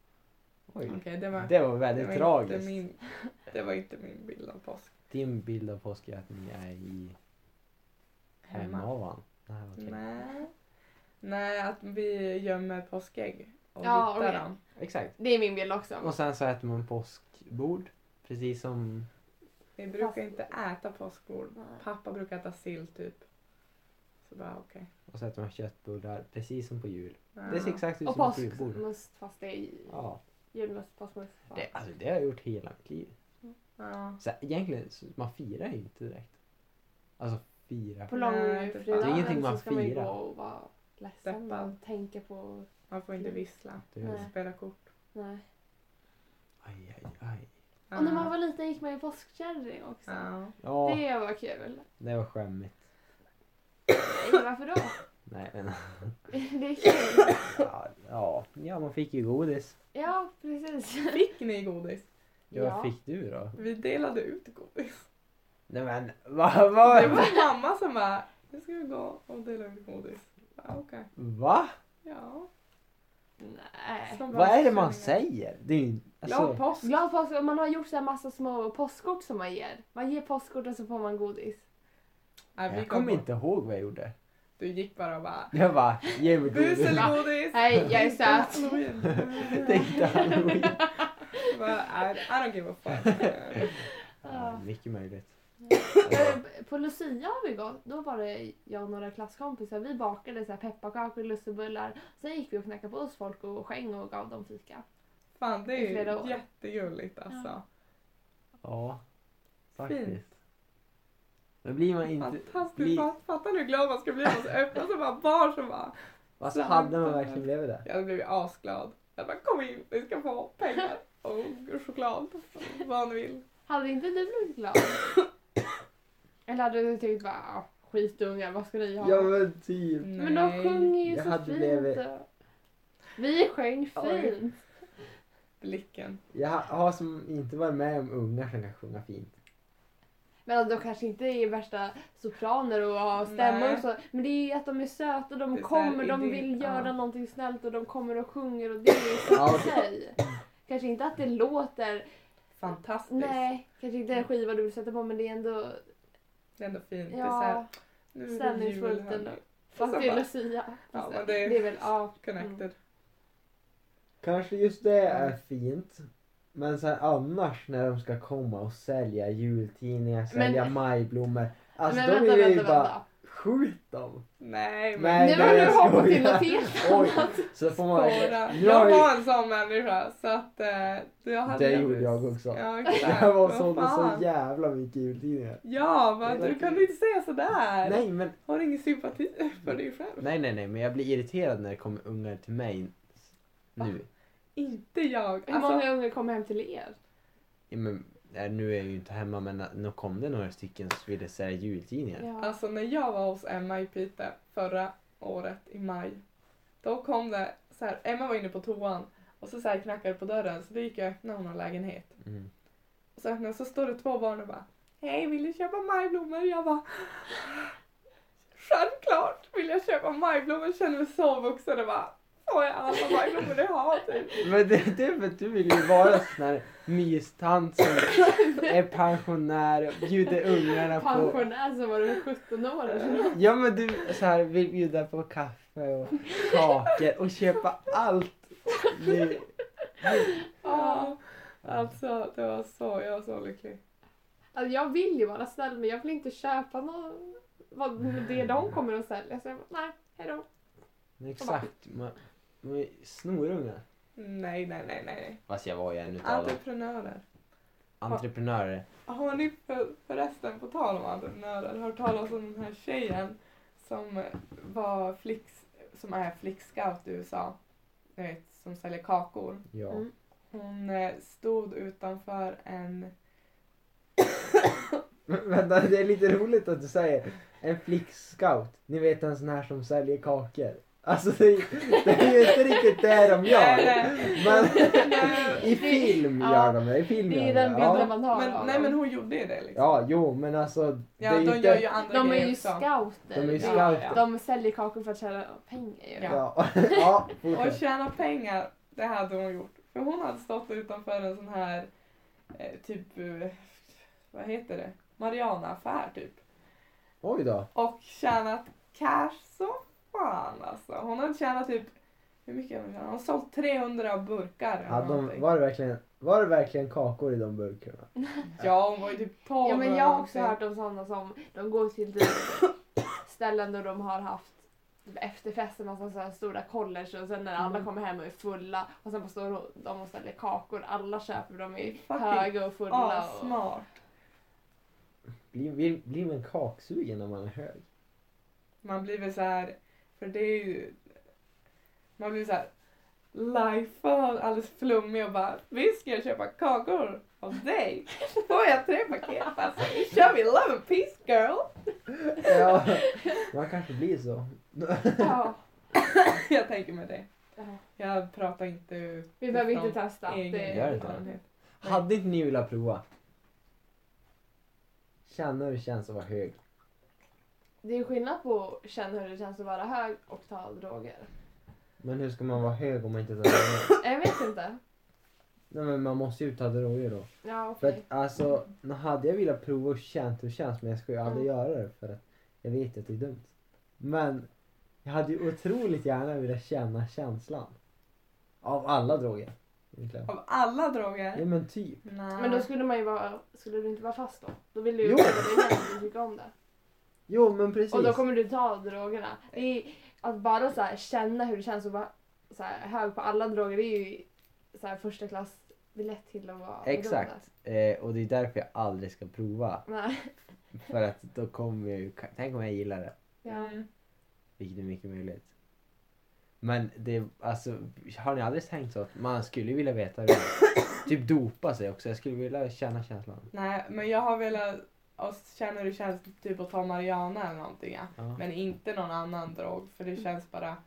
Speaker 2: Oj.
Speaker 1: Okej, det var,
Speaker 2: Det var
Speaker 1: det
Speaker 2: väldigt
Speaker 1: var
Speaker 2: tragiskt.
Speaker 1: Inte min, det var inte min bild av påsk.
Speaker 2: Din bild av påsk är att ni är i
Speaker 1: Hemma.
Speaker 2: Hemavan. Nej, okej.
Speaker 1: Nej. Nej, att vi gömmer påskägg och
Speaker 3: Ja,
Speaker 1: hittar
Speaker 3: okej.
Speaker 1: dem.
Speaker 2: Exakt.
Speaker 3: Det är min bild också.
Speaker 2: Och sen så äter man påskbord. Precis som...
Speaker 1: Vi brukar
Speaker 3: Fast-
Speaker 1: inte äta påskbord. Pappa brukar äta sill typ. Så bara okej.
Speaker 2: Och så äter man köttbullar. Precis som på jul. Det
Speaker 1: Ja.
Speaker 2: ser exakt ut
Speaker 3: Och
Speaker 2: som ett julbord.
Speaker 3: påskmust fast det är ju-
Speaker 2: Ja.
Speaker 3: julmust, påskmust. Ja.
Speaker 2: Det, alltså, det har jag gjort hela mitt liv.
Speaker 1: Ja.
Speaker 2: Så egentligen, så man firar ju inte direkt. Alltså fira.
Speaker 3: På
Speaker 1: Nej, det är
Speaker 2: ingenting
Speaker 3: långfredagen så
Speaker 2: man
Speaker 3: ska man ju gå
Speaker 2: firar.
Speaker 3: och vara ledsen
Speaker 1: Deppad.
Speaker 3: och tänka på...
Speaker 1: Man får inte vissla.
Speaker 2: Det är-
Speaker 3: Nej.
Speaker 1: Spela kort.
Speaker 3: Nej.
Speaker 2: Aj, aj, aj.
Speaker 3: Och
Speaker 1: Ah.
Speaker 3: när man var liten gick man ju påskkärring också.
Speaker 1: Ja.
Speaker 2: Ah. Ja,
Speaker 3: Det var kul.
Speaker 2: det var skämmigt.
Speaker 3: Nej, varför då?
Speaker 2: Nej men
Speaker 3: Det är kul.
Speaker 2: ja, ja, ja, man fick ju godis.
Speaker 3: Ja, precis.
Speaker 1: Fick ni godis?
Speaker 2: Ja, Vad
Speaker 3: Ja.
Speaker 2: fick du då?
Speaker 1: Vi delade ut godis.
Speaker 2: Nej men vad? Va,
Speaker 1: Det
Speaker 2: va?
Speaker 1: var mamma som bara, nu ska vi gå och dela ut godis. Ja, Okej.
Speaker 2: va?
Speaker 1: Ja.
Speaker 3: Nej.
Speaker 1: Som
Speaker 2: Äh, Vad är det man
Speaker 1: känner.
Speaker 2: säger? Det är ju,
Speaker 1: Glad
Speaker 2: alltså,
Speaker 1: påsk.
Speaker 3: Glad påsk! Och Man har gjort så här massa små postkort som man ger. Man ger postkort och så får man godis.
Speaker 1: Nej, vi
Speaker 2: jag
Speaker 1: gav
Speaker 2: kommer
Speaker 1: bort.
Speaker 2: inte ihåg vad jag gjorde.
Speaker 1: Du gick bara och bara,
Speaker 2: Jag bara, ge mig
Speaker 1: bus
Speaker 2: godis.
Speaker 1: eller godis?
Speaker 3: Nej, jag är söt.
Speaker 1: Halloween.
Speaker 2: Det är inte halloween.
Speaker 1: Bara, I, I don't give a fuck.
Speaker 2: Ja, mycket möjligt.
Speaker 3: Eh, På Lucia har vi gått. Då var det jag och några klasskompisar. Vi bakade så här pepparkakor och lussebullar. Sen gick vi och knackade på hos folk och skäng och gav dem fika.
Speaker 1: Fan, det
Speaker 3: I
Speaker 1: är
Speaker 3: flera år.
Speaker 1: ju jättegulligt alltså.
Speaker 2: Ja, faktiskt.
Speaker 1: Fint.
Speaker 2: Men blir man inte...
Speaker 1: Fantastiskt.
Speaker 2: Blir,
Speaker 1: Fat- Fattar du hur glad man ska bli när man ska öppna så bara barn som bara,
Speaker 2: alltså, hade man verkligen blivit det?
Speaker 1: jag hade blivit asglad. Jag bara, kom in, vi ska få pengar och choklad. och Vad ni vill.
Speaker 3: Hade inte du blivit glad? Eller hade du tyckt bara "Ah, skitungar, vad ska ni ha?
Speaker 2: Ja men typ.
Speaker 3: Men de sjunger ju
Speaker 2: jag
Speaker 3: så
Speaker 2: hade
Speaker 3: fint.
Speaker 2: blivit-
Speaker 3: och- Vi sjöng
Speaker 1: Oj.
Speaker 3: fint.
Speaker 1: Blicken.
Speaker 2: Jag ha- har som inte varit med om ungar som kan sjunga fint.
Speaker 3: Men alltså, de kanske inte är värsta sopraner och har stämmor
Speaker 1: Nej.
Speaker 3: och så. Men det är ju att de är söta, de
Speaker 1: Det är så här
Speaker 3: kommer, de
Speaker 1: idyll,
Speaker 3: vill
Speaker 1: ja.
Speaker 3: göra någonting snällt och de kommer och sjunger och det är ju
Speaker 2: Ja,
Speaker 3: så
Speaker 2: okej.
Speaker 3: sig. Kanske inte att det låter,
Speaker 1: Fantastiskt.
Speaker 3: nej, kanske inte en skiva du vill sätta på men det är ändå,
Speaker 1: Det är ändå fint. Det är så här,
Speaker 3: ja,
Speaker 1: nu är det
Speaker 3: stämningsfullt
Speaker 1: jul här.
Speaker 3: ändå. Fast
Speaker 1: så
Speaker 3: det är Mm.
Speaker 1: bara-
Speaker 3: Lucia.
Speaker 1: Ja,
Speaker 3: Fast
Speaker 1: men det är-
Speaker 3: det är väl, ja.
Speaker 1: Connected.
Speaker 2: Kanske just det är fint. Men sen annars när de ska komma och sälja jultidningar, sälja majblommor. Alltså
Speaker 3: men
Speaker 2: då
Speaker 3: vänta,
Speaker 2: vill jag ju
Speaker 3: vänta,
Speaker 2: bara
Speaker 3: vänta.
Speaker 2: skjut dem.
Speaker 1: Nej men.
Speaker 2: Nej,
Speaker 3: nu
Speaker 2: det
Speaker 3: har
Speaker 2: jag
Speaker 3: du hoppat till
Speaker 2: skojar.
Speaker 3: något
Speaker 2: Oj,
Speaker 3: helt annat.
Speaker 2: så får man
Speaker 1: Bara,
Speaker 2: Nu har
Speaker 1: jag
Speaker 2: vi-
Speaker 1: var en sån människa så att eh, jag hade
Speaker 2: Det gjorde jag också.
Speaker 1: Ja exakt.
Speaker 2: Jag var
Speaker 1: Vad
Speaker 2: sålde så
Speaker 1: fan.
Speaker 2: jävla mycket jultidningar.
Speaker 1: Ja men du kan inte säga sådär.
Speaker 2: Nej men,
Speaker 1: Har du ingen sympati för dig själv?
Speaker 2: nej nej nej men jag blir irriterad när det kommer ungar till mig nu.
Speaker 1: Inte jag.
Speaker 3: Hur
Speaker 1: Alltså,
Speaker 3: många ungar kommer hem till er?
Speaker 2: Ja, men, nej, nu är jag ju inte hemma men eh, nu kom det några stycken som ville sälja jultidningar.
Speaker 3: Ja.
Speaker 1: alltså när jag var hos Emma i Piteå förra året i maj. Då kom det så här, Emma var inne på toan och så, så här knackade det på dörren så då gick jag och öppnade hon har lägenhet.
Speaker 2: Mm.
Speaker 1: Och så öppnade jag, så står det två barn och bara Hej vill du köpa majblommor? Jag bara Självklart vill jag köpa majblommor, känner mig så vuxen och bara Får jag alla majblommor jag har typ?
Speaker 2: Men det, det är för att du vill ju vara sån här mystant som är pensionär och bjuder ungarna på...
Speaker 3: Pensionär så var du 17 år
Speaker 1: Eh,
Speaker 3: eller?
Speaker 2: Ja men du så här, vill bjuda på kaffe och kakor och köpa allt. Nu.
Speaker 1: Ja. Alltså det var så, jag var så lycklig.
Speaker 3: Alltså jag vill ju vara snäll men jag vill inte köpa någon, vad det de kommer att sälja. Så jag bara, nej, hejdå.
Speaker 2: Exakt. Man, man är snorungar.
Speaker 1: Nej, nej, nej, nej, nej.
Speaker 2: Fast jag var ju en utav dem.
Speaker 1: Entreprenörer.
Speaker 2: Entreprenörer.
Speaker 1: Har ni för, förresten, på tal om entreprenörer, hört talas om den här tjejen som var flicks, som är flickscout i USA? Ni vet, som säljer kakor.
Speaker 2: Ja.
Speaker 3: Mm.
Speaker 1: Hon eh, stod utanför en
Speaker 2: Men, vänta, det är lite roligt att du säger en flickscout. Ni vet en sån här som säljer kakor. Alltså det, är- det är ju inte riktigt det de gör.
Speaker 1: Nej.
Speaker 2: Men
Speaker 1: Nej.
Speaker 2: i film
Speaker 3: Ja,
Speaker 2: gör de det. I film
Speaker 3: Det är
Speaker 2: gör
Speaker 3: ju
Speaker 2: de
Speaker 3: den
Speaker 2: det.
Speaker 3: bilden
Speaker 2: Ja.
Speaker 3: man har av
Speaker 1: Men, nej men
Speaker 3: dem.
Speaker 1: hon gjorde ju det liksom.
Speaker 2: ja, jo men alltså. Det
Speaker 1: Ja,
Speaker 2: är ju
Speaker 1: de
Speaker 2: inte...
Speaker 1: gör ju andra
Speaker 3: De är
Speaker 1: grejer
Speaker 3: ju
Speaker 1: också.
Speaker 3: scouter.
Speaker 2: De är ju
Speaker 3: Ja.
Speaker 2: scouter.
Speaker 1: Ja.
Speaker 3: De säljer kakor för att tjäna pengar ju.
Speaker 1: Ja.
Speaker 2: Ja, ja
Speaker 1: Och
Speaker 2: fortsätt.
Speaker 1: tjäna pengar, det hade hon gjort. För hon hade stått utanför en sån här, eh, typ, eh, vad heter det? Mariana-affär typ.
Speaker 2: Oj då.
Speaker 1: Och tjänat cash så fan alltså. Hon hade tjänat typ, hur mycket hade hon tjänat? Hon har sålt 300 burkar. eller
Speaker 2: Ja, de,
Speaker 1: någonting.
Speaker 2: var, det verkligen, var det verkligen kakor i de burkarna?
Speaker 1: ja hon var ju typ 12
Speaker 3: Ja, men
Speaker 1: eller
Speaker 3: jag har också
Speaker 1: någonting.
Speaker 3: hört om sådana som de går till typ ställen där de har haft efterfester, massa så här stora college och sen när alla
Speaker 1: Mm.
Speaker 3: kommer hem och är fulla och sen bara står de och ställer kakor. Alla köper, de är
Speaker 1: Fucking
Speaker 3: höga och fulla.
Speaker 1: Ja,
Speaker 3: och...
Speaker 1: smart.
Speaker 2: Blir, blir, blir man kaksugen när man är hög?
Speaker 1: Man blir väl så här, för det är ju... Man blir så här lifead, alldeles flummig och bara visst ska jag köpa kakor av dig. Får jag tre paket alltså, nu kör vi love and peace girl.
Speaker 2: Ja, man kanske blir så.
Speaker 3: Ja.
Speaker 1: jag tänker mig det.
Speaker 3: Ja.
Speaker 1: Jag pratar inte ur
Speaker 3: Vi behöver
Speaker 1: Ifrån
Speaker 3: inte testa.
Speaker 1: egen
Speaker 2: Gör
Speaker 3: Det...
Speaker 2: inte det.
Speaker 1: erfarenhet.
Speaker 2: Hade inte ni velat prova? Känna hur det känns att vara hög.
Speaker 3: det är skillnad på att känna hur det känns att vara hög och ta droger.
Speaker 2: Men hur ska man vara hög om man inte tar droger?
Speaker 3: Jag vet inte.
Speaker 2: Nej men man måste ju ta droger då.
Speaker 3: Ja,
Speaker 2: För
Speaker 3: okej.
Speaker 2: att alltså, nu hade jag velat prova och känt hur det känns men jag skulle ju aldrig göra det för att jag vet att det är dumt. Men jag hade ju otroligt gärna velat känna känslan. Av alla droger. egentligen.
Speaker 1: Av alla droger?
Speaker 2: Ja men typ.
Speaker 1: Nej.
Speaker 3: Men då skulle man ju vara, skulle du inte vara fast då? Då vill du ju
Speaker 2: Jo.
Speaker 3: prova dig igen om du tycker om det.
Speaker 2: Jo men precis.
Speaker 3: Och då kommer du ta drogerna. Det är, att bara så här, känna hur det känns att vara så här, hög på alla droger det är ju så här, första klass biljett till att vara
Speaker 2: Exakt. Eh, och det är därför jag aldrig ska prova.
Speaker 3: beroende. Nej.
Speaker 2: För att då kommer jag ju... Tänk om jag gillar det.
Speaker 3: Ja.
Speaker 1: Mm.
Speaker 2: Vilket är mycket möjligt. Men det, alltså, har ni aldrig tänkt så att man skulle vilja veta hur det är? Typ dopa sig också. Jag skulle vilja känna känslan.
Speaker 1: Nej, men jag har velat och känner hur det känns typ att ta Mariana eller någonting. Ja.
Speaker 2: Ja.
Speaker 1: Men inte någon annan drog för det
Speaker 3: Mm.
Speaker 1: känns bara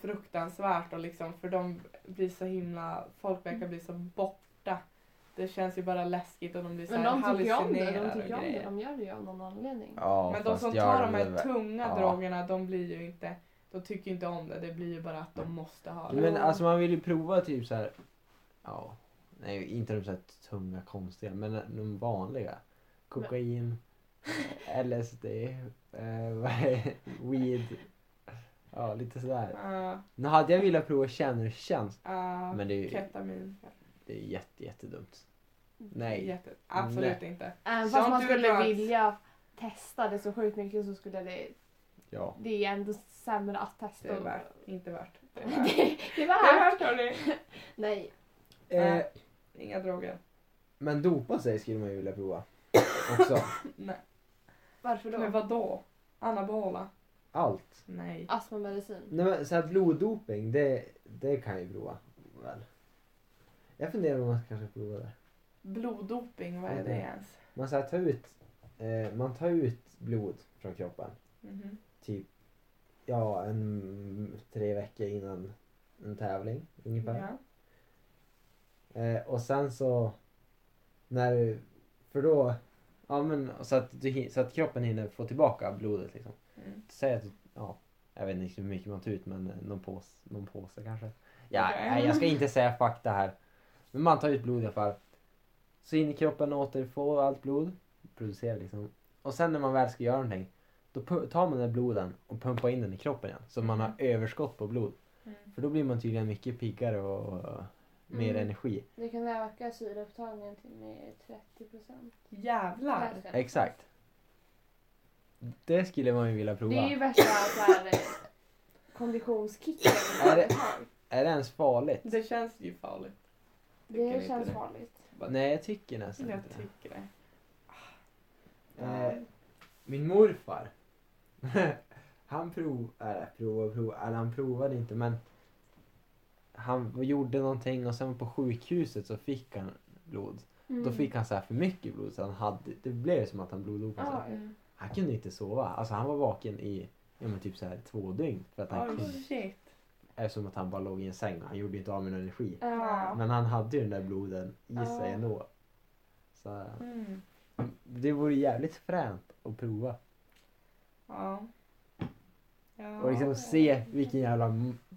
Speaker 1: fruktansvärt och liksom för de blir så himla, folk verkar
Speaker 3: Mm.
Speaker 1: bli så borta. Det känns ju bara läskigt och de blir så
Speaker 3: Men
Speaker 1: här
Speaker 3: de tycker ju om det,
Speaker 1: hallucinerar
Speaker 3: de
Speaker 1: och
Speaker 3: tycker om det,
Speaker 1: grejer.
Speaker 3: de gör det ju av någon anledning.
Speaker 2: Ja,
Speaker 1: Men de
Speaker 2: fast
Speaker 1: som
Speaker 2: gör
Speaker 1: tar de
Speaker 2: väl-
Speaker 1: här tunga
Speaker 2: Ja.
Speaker 1: drogerna de blir ju inte, de tycker ju inte om det. Det blir ju bara att de måste ha det.
Speaker 2: Men alltså man vill ju prova typ så här. Ja. Nej, inte de så här tunga konstiga men de vanliga. Kokain, LSD, eh, vad är- weed. Ja, lite sådär.
Speaker 1: Uh,
Speaker 2: Nu hade jag velat prova känna hur det känns.
Speaker 1: uh,
Speaker 2: Men det är ju
Speaker 1: Ketamin.
Speaker 2: det är jätte, jättedumt. Nej.
Speaker 1: Jätte, absolut
Speaker 2: Nej.
Speaker 1: inte.
Speaker 3: Även
Speaker 1: Sånt
Speaker 3: Eh, fast man
Speaker 1: du
Speaker 3: skulle
Speaker 1: rökt.
Speaker 3: vilja testa det så sjukt mycket så skulle det,
Speaker 2: Ja.
Speaker 3: det är ändå sämre att testa.
Speaker 1: Det är
Speaker 3: och-
Speaker 1: värt. Inte värt. Det är värt.
Speaker 3: det, det är
Speaker 1: Det är
Speaker 3: värt.
Speaker 1: värt hörni.
Speaker 3: Nej.
Speaker 2: Eh,
Speaker 1: Inga droger.
Speaker 2: men dopa sig skulle man ju vilja prova. Också.
Speaker 1: Nej.
Speaker 3: Varför
Speaker 1: Men
Speaker 3: då?
Speaker 1: vadå? Anabola?
Speaker 2: Allt.
Speaker 1: Nej. Mm.
Speaker 3: Astmamedicin.
Speaker 2: Nej, men, så här bloddoping, det, det kan jag ju prova. Väl. Jag funderar om man kanske ska prova det.
Speaker 1: Bloddoping, vad är
Speaker 2: Mm.
Speaker 1: det ens?
Speaker 2: Man, så här, tar ut, eh, man tar ut blod från kroppen.
Speaker 1: Mhm.
Speaker 2: Typ ja, en, tre veckor innan en tävling ungefär.
Speaker 1: Ja.
Speaker 2: Eh, och sen så när du, för då, ja men så att, du, hin- så att kroppen hinner få tillbaka blodet liksom.
Speaker 1: Mm.
Speaker 2: Säg att du, ja, jag vet inte hur mycket man tar ut men eh, någon påse, någon påse kanske. Ja,
Speaker 1: Okej.
Speaker 2: nej, jag ska inte säga fakta här. Men man tar ut blod i alla fall. Så in i kroppen återfår allt blod. Producerar liksom. Och sen när man väl ska göra någonting. Då pu- tar man den bloden och pumpar in den i kroppen igen. Så man har överskott på blod.
Speaker 1: Mm.
Speaker 2: För då blir man tydligen mycket piggare och, och mer
Speaker 3: Mm.
Speaker 2: energi.
Speaker 3: Det kan öka syreupptagningen till med 30 procent.
Speaker 1: Jävlar!
Speaker 2: Exakt. Det skulle man ju vilja prova.
Speaker 3: Det är ju värsta så här, eh, konditionskicken.
Speaker 2: Är det- Är det ens farligt?
Speaker 1: Det känns ju farligt. Tycker
Speaker 3: Det
Speaker 1: inte
Speaker 3: känns
Speaker 1: det.
Speaker 3: farligt.
Speaker 2: Nej, jag tycker nästan
Speaker 1: Jag
Speaker 2: inte det. Ah.
Speaker 1: tycker det.
Speaker 2: Eh, min morfar. han prov, äh, prov, prov, eller han provade inte men han gjorde någonting och sen på sjukhuset så fick han blod.
Speaker 3: Mm.
Speaker 2: Då fick han så här för mycket blod så han hade, det blev som att han bloddopade sig.
Speaker 1: Ah, Ja.
Speaker 3: Mm.
Speaker 2: Han kunde inte sova. Alltså han var vaken i ja, men typ så här två dygn. För att han
Speaker 1: Oj,
Speaker 2: kunde,
Speaker 1: Oh, shit.
Speaker 2: eftersom att han bara låg i en säng. Han gjorde ju inte av med någon energi.
Speaker 3: Ja.
Speaker 2: Men han hade ju den där bloden i sig
Speaker 3: Ja.
Speaker 2: ändå. Så
Speaker 1: Mm.
Speaker 2: det vore jävligt fränt att prova.
Speaker 1: Ja. Ja.
Speaker 2: Och liksom se vilken jävla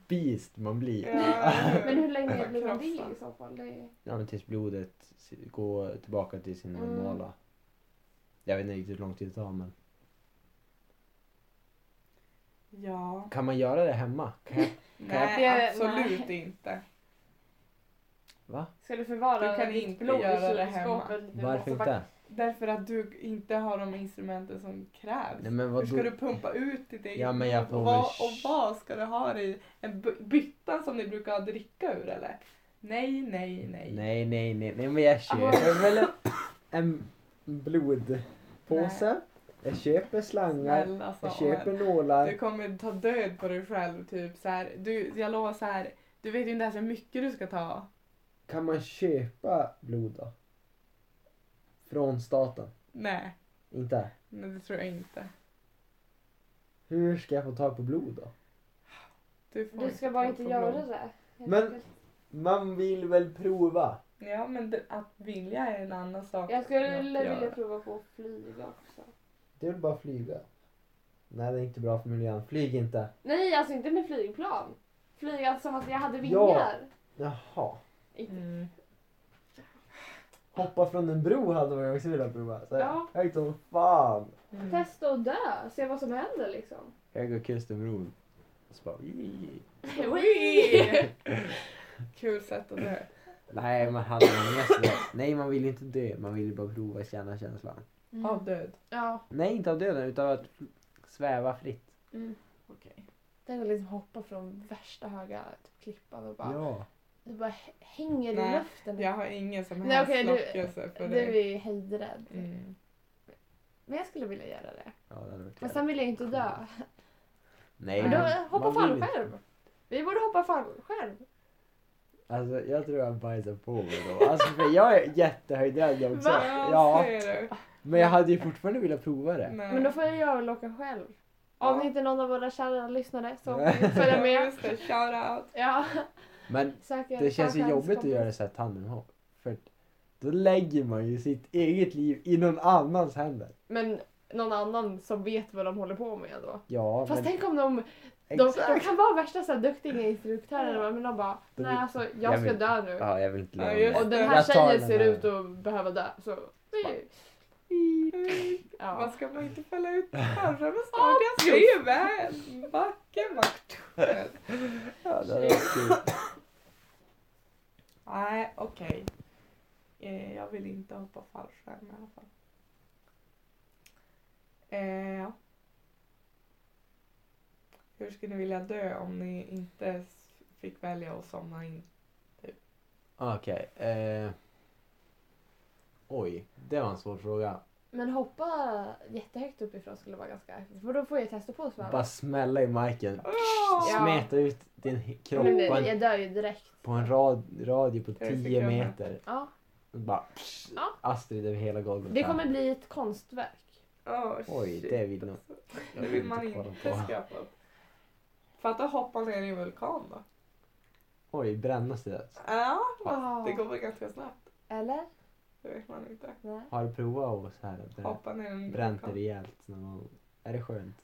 Speaker 2: beast man blir.
Speaker 1: Ja,
Speaker 3: Men hur länge
Speaker 1: Bara
Speaker 3: blir man det
Speaker 1: krossa.
Speaker 3: i så fall? Det är...
Speaker 2: Ja men tills blodet s- går tillbaka till sin
Speaker 3: Mm.
Speaker 2: normala. Jag vet inte riktigt hur lång tid det tar men.
Speaker 1: Ja.
Speaker 2: Kan man göra det hemma? Kan jag...
Speaker 1: Nej,
Speaker 3: Det-
Speaker 1: absolut inte.
Speaker 2: Va?
Speaker 3: Ska du förvara
Speaker 1: Du kan
Speaker 3: ditt
Speaker 1: inte
Speaker 3: blod i
Speaker 1: göra det
Speaker 3: kylskåpet? Du måste
Speaker 2: Varför
Speaker 3: bara-
Speaker 2: inte?
Speaker 1: Därför att du inte har de instrumenten som krävs.
Speaker 2: Nej men
Speaker 1: Hur
Speaker 2: vadå?
Speaker 1: ska du pumpa ut ditt eget
Speaker 2: Ja, men jag
Speaker 1: blod?
Speaker 2: får
Speaker 1: och, vad,
Speaker 2: väl-
Speaker 1: och vad ska du ha det i? En by- bytta som ni brukar dricka ur eller? Nej, nej, nej.
Speaker 2: Nej nej nej, nej men jag köper väl en- en blodpåse. Jag köper slangar.
Speaker 1: Snälla
Speaker 2: Jag
Speaker 1: Samuel.
Speaker 2: köper nålar.
Speaker 1: Du kommer ta död på dig själv. Typ, så här. Du, jag lovar så här. Du vet ju inte ens hur mycket du ska ta.
Speaker 2: Kan man köpa blod då? Från staten?
Speaker 1: Nej,
Speaker 2: Inte?
Speaker 1: nej det tror jag inte.
Speaker 2: Hur ska jag få tag på blod då?
Speaker 1: får
Speaker 3: Du ska bara
Speaker 1: ta
Speaker 3: inte
Speaker 1: på
Speaker 3: göra
Speaker 1: blod.
Speaker 3: det. helt
Speaker 2: Men-
Speaker 3: enkelt.
Speaker 2: Man vill väl prova?
Speaker 1: Ja, men det, att vilja är en annan sak.
Speaker 3: Jag
Speaker 1: än
Speaker 3: skulle
Speaker 1: att
Speaker 3: vilja
Speaker 1: göra.
Speaker 3: prova på att flyga också.
Speaker 2: Det är väl bara att flyga? Nej det är inte bra för miljön. Flyg inte.
Speaker 3: Nej, alltså inte med flygplan. Flyga som att jag hade
Speaker 2: Ja.
Speaker 3: vingar.
Speaker 2: Jaha.
Speaker 1: Mm.
Speaker 2: Hoppa från en bro hade man ju också velat prova. Så
Speaker 3: Ja.
Speaker 2: Högt som fan.
Speaker 1: Mm.
Speaker 3: Testa att dö, se vad som händer liksom.
Speaker 2: Höga kustenbron. Och så bara, "Ii."
Speaker 1: Ui! Kul sätt att dö.
Speaker 2: Nej man hade man mest velat- Nej man vill ju inte dö. Man vill ju bara prova och känna känslan.
Speaker 3: Mm.
Speaker 1: Av död.
Speaker 3: Ja.
Speaker 2: Nej inte av döden utan att sväva fritt.
Speaker 3: Mm.
Speaker 1: Okej.
Speaker 3: Tänk att liksom hoppa från värsta höga typ, klippan och bara,
Speaker 2: Ja.
Speaker 3: du bara h- hänger
Speaker 1: Nej,
Speaker 3: i luften.
Speaker 1: Jag har ingen som
Speaker 3: Nej,
Speaker 1: helst
Speaker 3: okej, du-
Speaker 1: lockelse för
Speaker 3: Du
Speaker 1: det.
Speaker 3: är ju hejdrädd.
Speaker 1: Mm.
Speaker 3: Men jag skulle vilja göra det.
Speaker 2: Ja, det hade varit
Speaker 3: Men
Speaker 2: jävligt.
Speaker 3: sen vill jag inte dö.
Speaker 2: Nej,
Speaker 3: Men
Speaker 1: Men
Speaker 3: då eh,
Speaker 2: man-
Speaker 3: hoppa
Speaker 2: man vill
Speaker 3: fallskärm. Vi borde hoppa fallskärm.
Speaker 2: Alltså jag tror jag bajsar på mig då. Alltså för jag är jättehöjdrädd jag också.
Speaker 3: Va?
Speaker 1: Ja,
Speaker 2: Ja,
Speaker 1: ser du.
Speaker 2: men jag hade ju fortfarande velat prova det.
Speaker 1: Nej.
Speaker 3: Men då får jag göra väl åka själv.
Speaker 1: Ja.
Speaker 3: Om inte någon av våra kära lyssnare så följer
Speaker 1: Ja,
Speaker 3: med.
Speaker 1: Just det, shout out.
Speaker 3: Ja,
Speaker 2: Men
Speaker 3: söker
Speaker 2: det känns ju
Speaker 3: fallskärms-
Speaker 2: jobbigt att göra så här tandemhopp. För att då lägger man ju sitt eget liv i någon annans händer.
Speaker 3: Men någon annan som vet vad de håller på med då.
Speaker 2: Ja,
Speaker 3: Fast
Speaker 2: men
Speaker 3: tänk om de, de, de
Speaker 2: exakt.
Speaker 3: kan vara värsta så här, duktiga instruktörer men de bara
Speaker 2: De-
Speaker 3: nej alltså jag,
Speaker 2: jag
Speaker 3: ska
Speaker 2: vet-
Speaker 3: dö nu.
Speaker 2: Ja, jag vill inte
Speaker 1: Ja,
Speaker 2: leva
Speaker 1: just
Speaker 2: med
Speaker 3: Och
Speaker 2: det.
Speaker 3: den här
Speaker 2: Jag tar
Speaker 3: tjejen
Speaker 2: den
Speaker 3: ser
Speaker 2: här.
Speaker 3: ut att behöva dö så det är ju-
Speaker 1: Man
Speaker 3: ja.
Speaker 1: ska man inte fälla ut fallskärmen snart? Jag ser ju väl. Backen bara.
Speaker 2: Ja, det hade varit kul.
Speaker 1: Nej, okej. Eh, jag vill inte hoppa fallskärm i alla fall. Eh, ja. Hur skulle ni vilja dö om ni inte s- fick välja att somna in?
Speaker 2: Okej. eh. Oj, det var en svår fråga.
Speaker 3: Men hoppa jättehögt uppifrån skulle vara ganska häftigt för då får jag testa på att sväva.
Speaker 2: Bara smälla i marken.
Speaker 1: Ja.
Speaker 2: Smeta ut din kropp
Speaker 3: Men
Speaker 2: på en
Speaker 3: jag dör ju direkt.
Speaker 2: på en rad, radio på
Speaker 1: Tre
Speaker 2: 10
Speaker 1: sekunder.
Speaker 2: meter.
Speaker 3: Ja.
Speaker 2: Bara pss,
Speaker 3: Ja.
Speaker 2: Astrid över hela golvet.
Speaker 3: Det kommer bli ett konstverk.
Speaker 1: Åh,
Speaker 2: Oj,
Speaker 1: shit.
Speaker 2: det vill nog-
Speaker 1: Det vill man inte skapa upp. Fatta att hoppa ner i en vulkan då.
Speaker 2: Oj, brännas det?
Speaker 1: Ja,
Speaker 3: Ja.
Speaker 1: det går väl ganska snabbt.
Speaker 3: Eller?
Speaker 1: Det vet man inte.
Speaker 3: Nej.
Speaker 2: Har du provat att så här brä-
Speaker 1: Hoppa ner i en
Speaker 2: bränt
Speaker 1: vulkan.
Speaker 2: dig rejält någon gång? Är det skönt?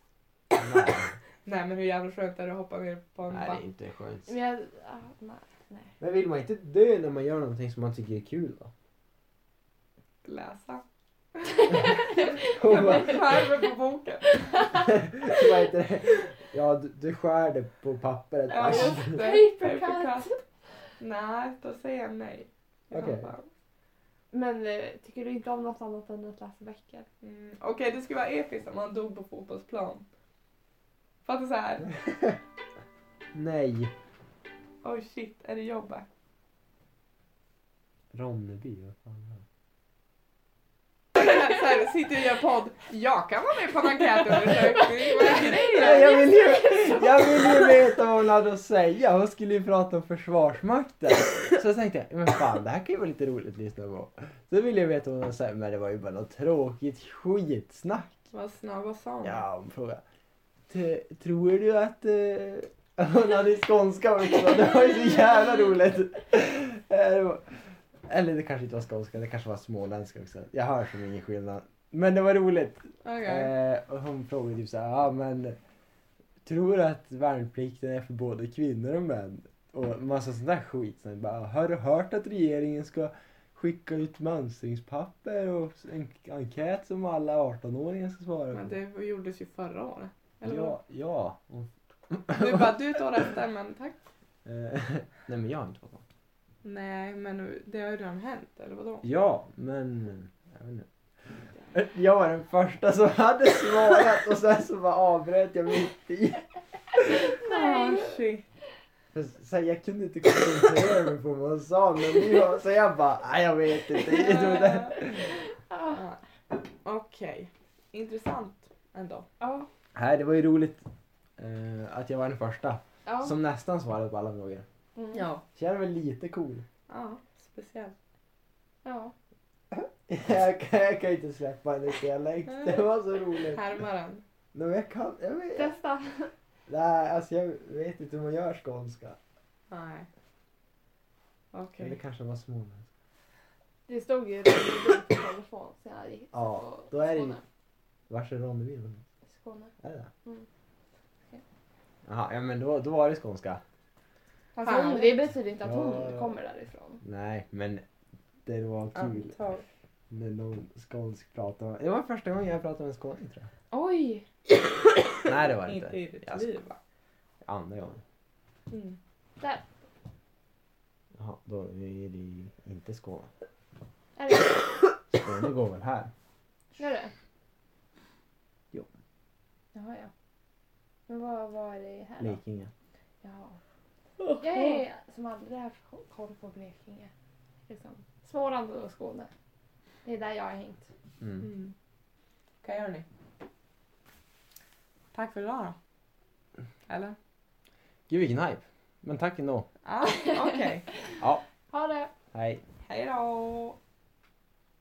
Speaker 2: Nej,
Speaker 1: Nej men hur jävla skönt är det att hoppa ner på en
Speaker 2: nej det är
Speaker 1: back?
Speaker 2: inte skönt.
Speaker 3: Men jag, ah, nej. nej.
Speaker 2: Men vill man inte dö när man gör någonting som man tycker är kul då?
Speaker 1: Läsa.
Speaker 2: Och bara-
Speaker 1: Skärmen på boken.
Speaker 2: Vad heter det? Ja, du, du skär det på pappret.
Speaker 1: Ja,
Speaker 2: Asch.
Speaker 1: just det.
Speaker 3: Paper
Speaker 1: Nej, då säger jag nej. I alla
Speaker 2: Okej.
Speaker 1: fall.
Speaker 3: Men eh, tycker du inte om något annat än att läsa böcker?
Speaker 1: Mm. Okej, det skulle vara episkt om man dog på fotbollsplan. Fattar så här.
Speaker 2: Nej.
Speaker 1: Oj shit, är det jobbet?
Speaker 2: Ronneby, vad fan är det?
Speaker 1: så här, sitter och gör podd. Jag kan vara med på en enkätundersökning. Vad är
Speaker 2: Nej,
Speaker 1: grejen?
Speaker 2: jag, vill ju, jag vill ju veta vad hon hade att säga. Hon skulle ju prata om Försvarsmakten. Så jag tänkte jag, men fan det här kan ju vara lite roligt att lyssna på. Så ville jag veta vad hon hade att säga, men det var ju bara något tråkigt skitsnack.
Speaker 1: Vad snabba sa hon?
Speaker 2: Ja, hon frågade. "T- Tror du att... eh, Hon hade skånska också. Det var ju så jävla roligt. Eh, det var- Eller det kanske inte var skånska, det kanske var småländska också. Jag hör som ingen skillnad. Men det var roligt.
Speaker 1: Okej.
Speaker 2: Eh, och hon frågade typ såhär, ja men tror du att värnplikten är för både kvinnor och män? Och massa sån där skit. Så jag bara, har du hört att regeringen ska skicka ut mönstringspapper och en enkät som alla 18-åringar ska svara
Speaker 1: Men
Speaker 2: på?
Speaker 1: det gjordes ju förra året. Eller
Speaker 2: Eh, Ja, ja. Och,
Speaker 1: vad? Du bara, du är ett år efter men tack.
Speaker 2: eh, nej men jag har inte fått något.
Speaker 1: Nej men det har ju redan hänt eller vadå?
Speaker 2: Ja, men jag vet inte. Eh, Jag var den första som hade svarat och sen så bara avbröt jag mitt i.
Speaker 1: Ah, shit.
Speaker 2: För Så här, jag kunde inte koncentrera mig på vad hon sa men nu, har- så jag bara, nej jag vet inte. Det var där.
Speaker 3: Ja.
Speaker 1: Ah. Okej. Intressant ändå.
Speaker 3: Ja.
Speaker 2: Nej det var ju roligt eh, att jag var den första
Speaker 3: Ja.
Speaker 2: som nästan svarade på alla frågor.
Speaker 3: Mm.
Speaker 1: Ja.
Speaker 2: Så jag är väl lite cool.
Speaker 1: Ja, speciellt.
Speaker 3: Ja.
Speaker 2: Jag kan, jag kan inte släppa hennes dialekt, det var så roligt.
Speaker 1: Härmar den.
Speaker 2: Nej men jag kan, jag vet,
Speaker 3: Testa.
Speaker 2: nej, alltså jag vet inte hur man gör skånska.
Speaker 1: Nej. Okej.
Speaker 2: Eller kanske var småländska.
Speaker 3: Det stod ju Ronneby på telefon så jag gick
Speaker 2: Ja,
Speaker 3: på
Speaker 2: då är det ju-
Speaker 3: Skåne.
Speaker 2: Vars är Ronneby? då?
Speaker 3: Skåne.
Speaker 2: Är det det?
Speaker 3: Mm. Okej.
Speaker 2: Jaha, ja men då, då var det skånska.
Speaker 3: Fast
Speaker 1: Fan.
Speaker 3: hon, det betyder inte att hon
Speaker 2: Ja, ja.
Speaker 3: kommer därifrån.
Speaker 2: Nej men det var kul.
Speaker 1: Antag.
Speaker 2: När någon skånsk pratar. Det var första gången jag pratade med en skåning tror
Speaker 3: Oj!
Speaker 2: jag. Nej det var det
Speaker 1: Inte
Speaker 2: inte.
Speaker 1: i ditt
Speaker 2: Jag
Speaker 1: liv va?
Speaker 2: Andra gången.
Speaker 1: Mm.
Speaker 3: Där.
Speaker 2: Jaha, då är det ju inte Skåne.
Speaker 3: Är det?
Speaker 2: Skåne går väl här?
Speaker 3: Gör det?
Speaker 2: Jo.
Speaker 3: Jaha, ja. Men vad, vad är det här då?
Speaker 2: Blekinge.
Speaker 3: Ja. Jag är som aldrig har haft koll på Blekinge. Liksom. Småland och Skåne. Det är där jag har hängt.
Speaker 2: Mm.
Speaker 1: Mm. Okej hörni. Tack för idag då.
Speaker 2: Mm.
Speaker 1: Eller?
Speaker 2: Gud vilken hype. Men tack ändå.
Speaker 1: Ah, Okej.
Speaker 2: Ja,
Speaker 3: Ha det!
Speaker 2: hej.
Speaker 1: Hej då.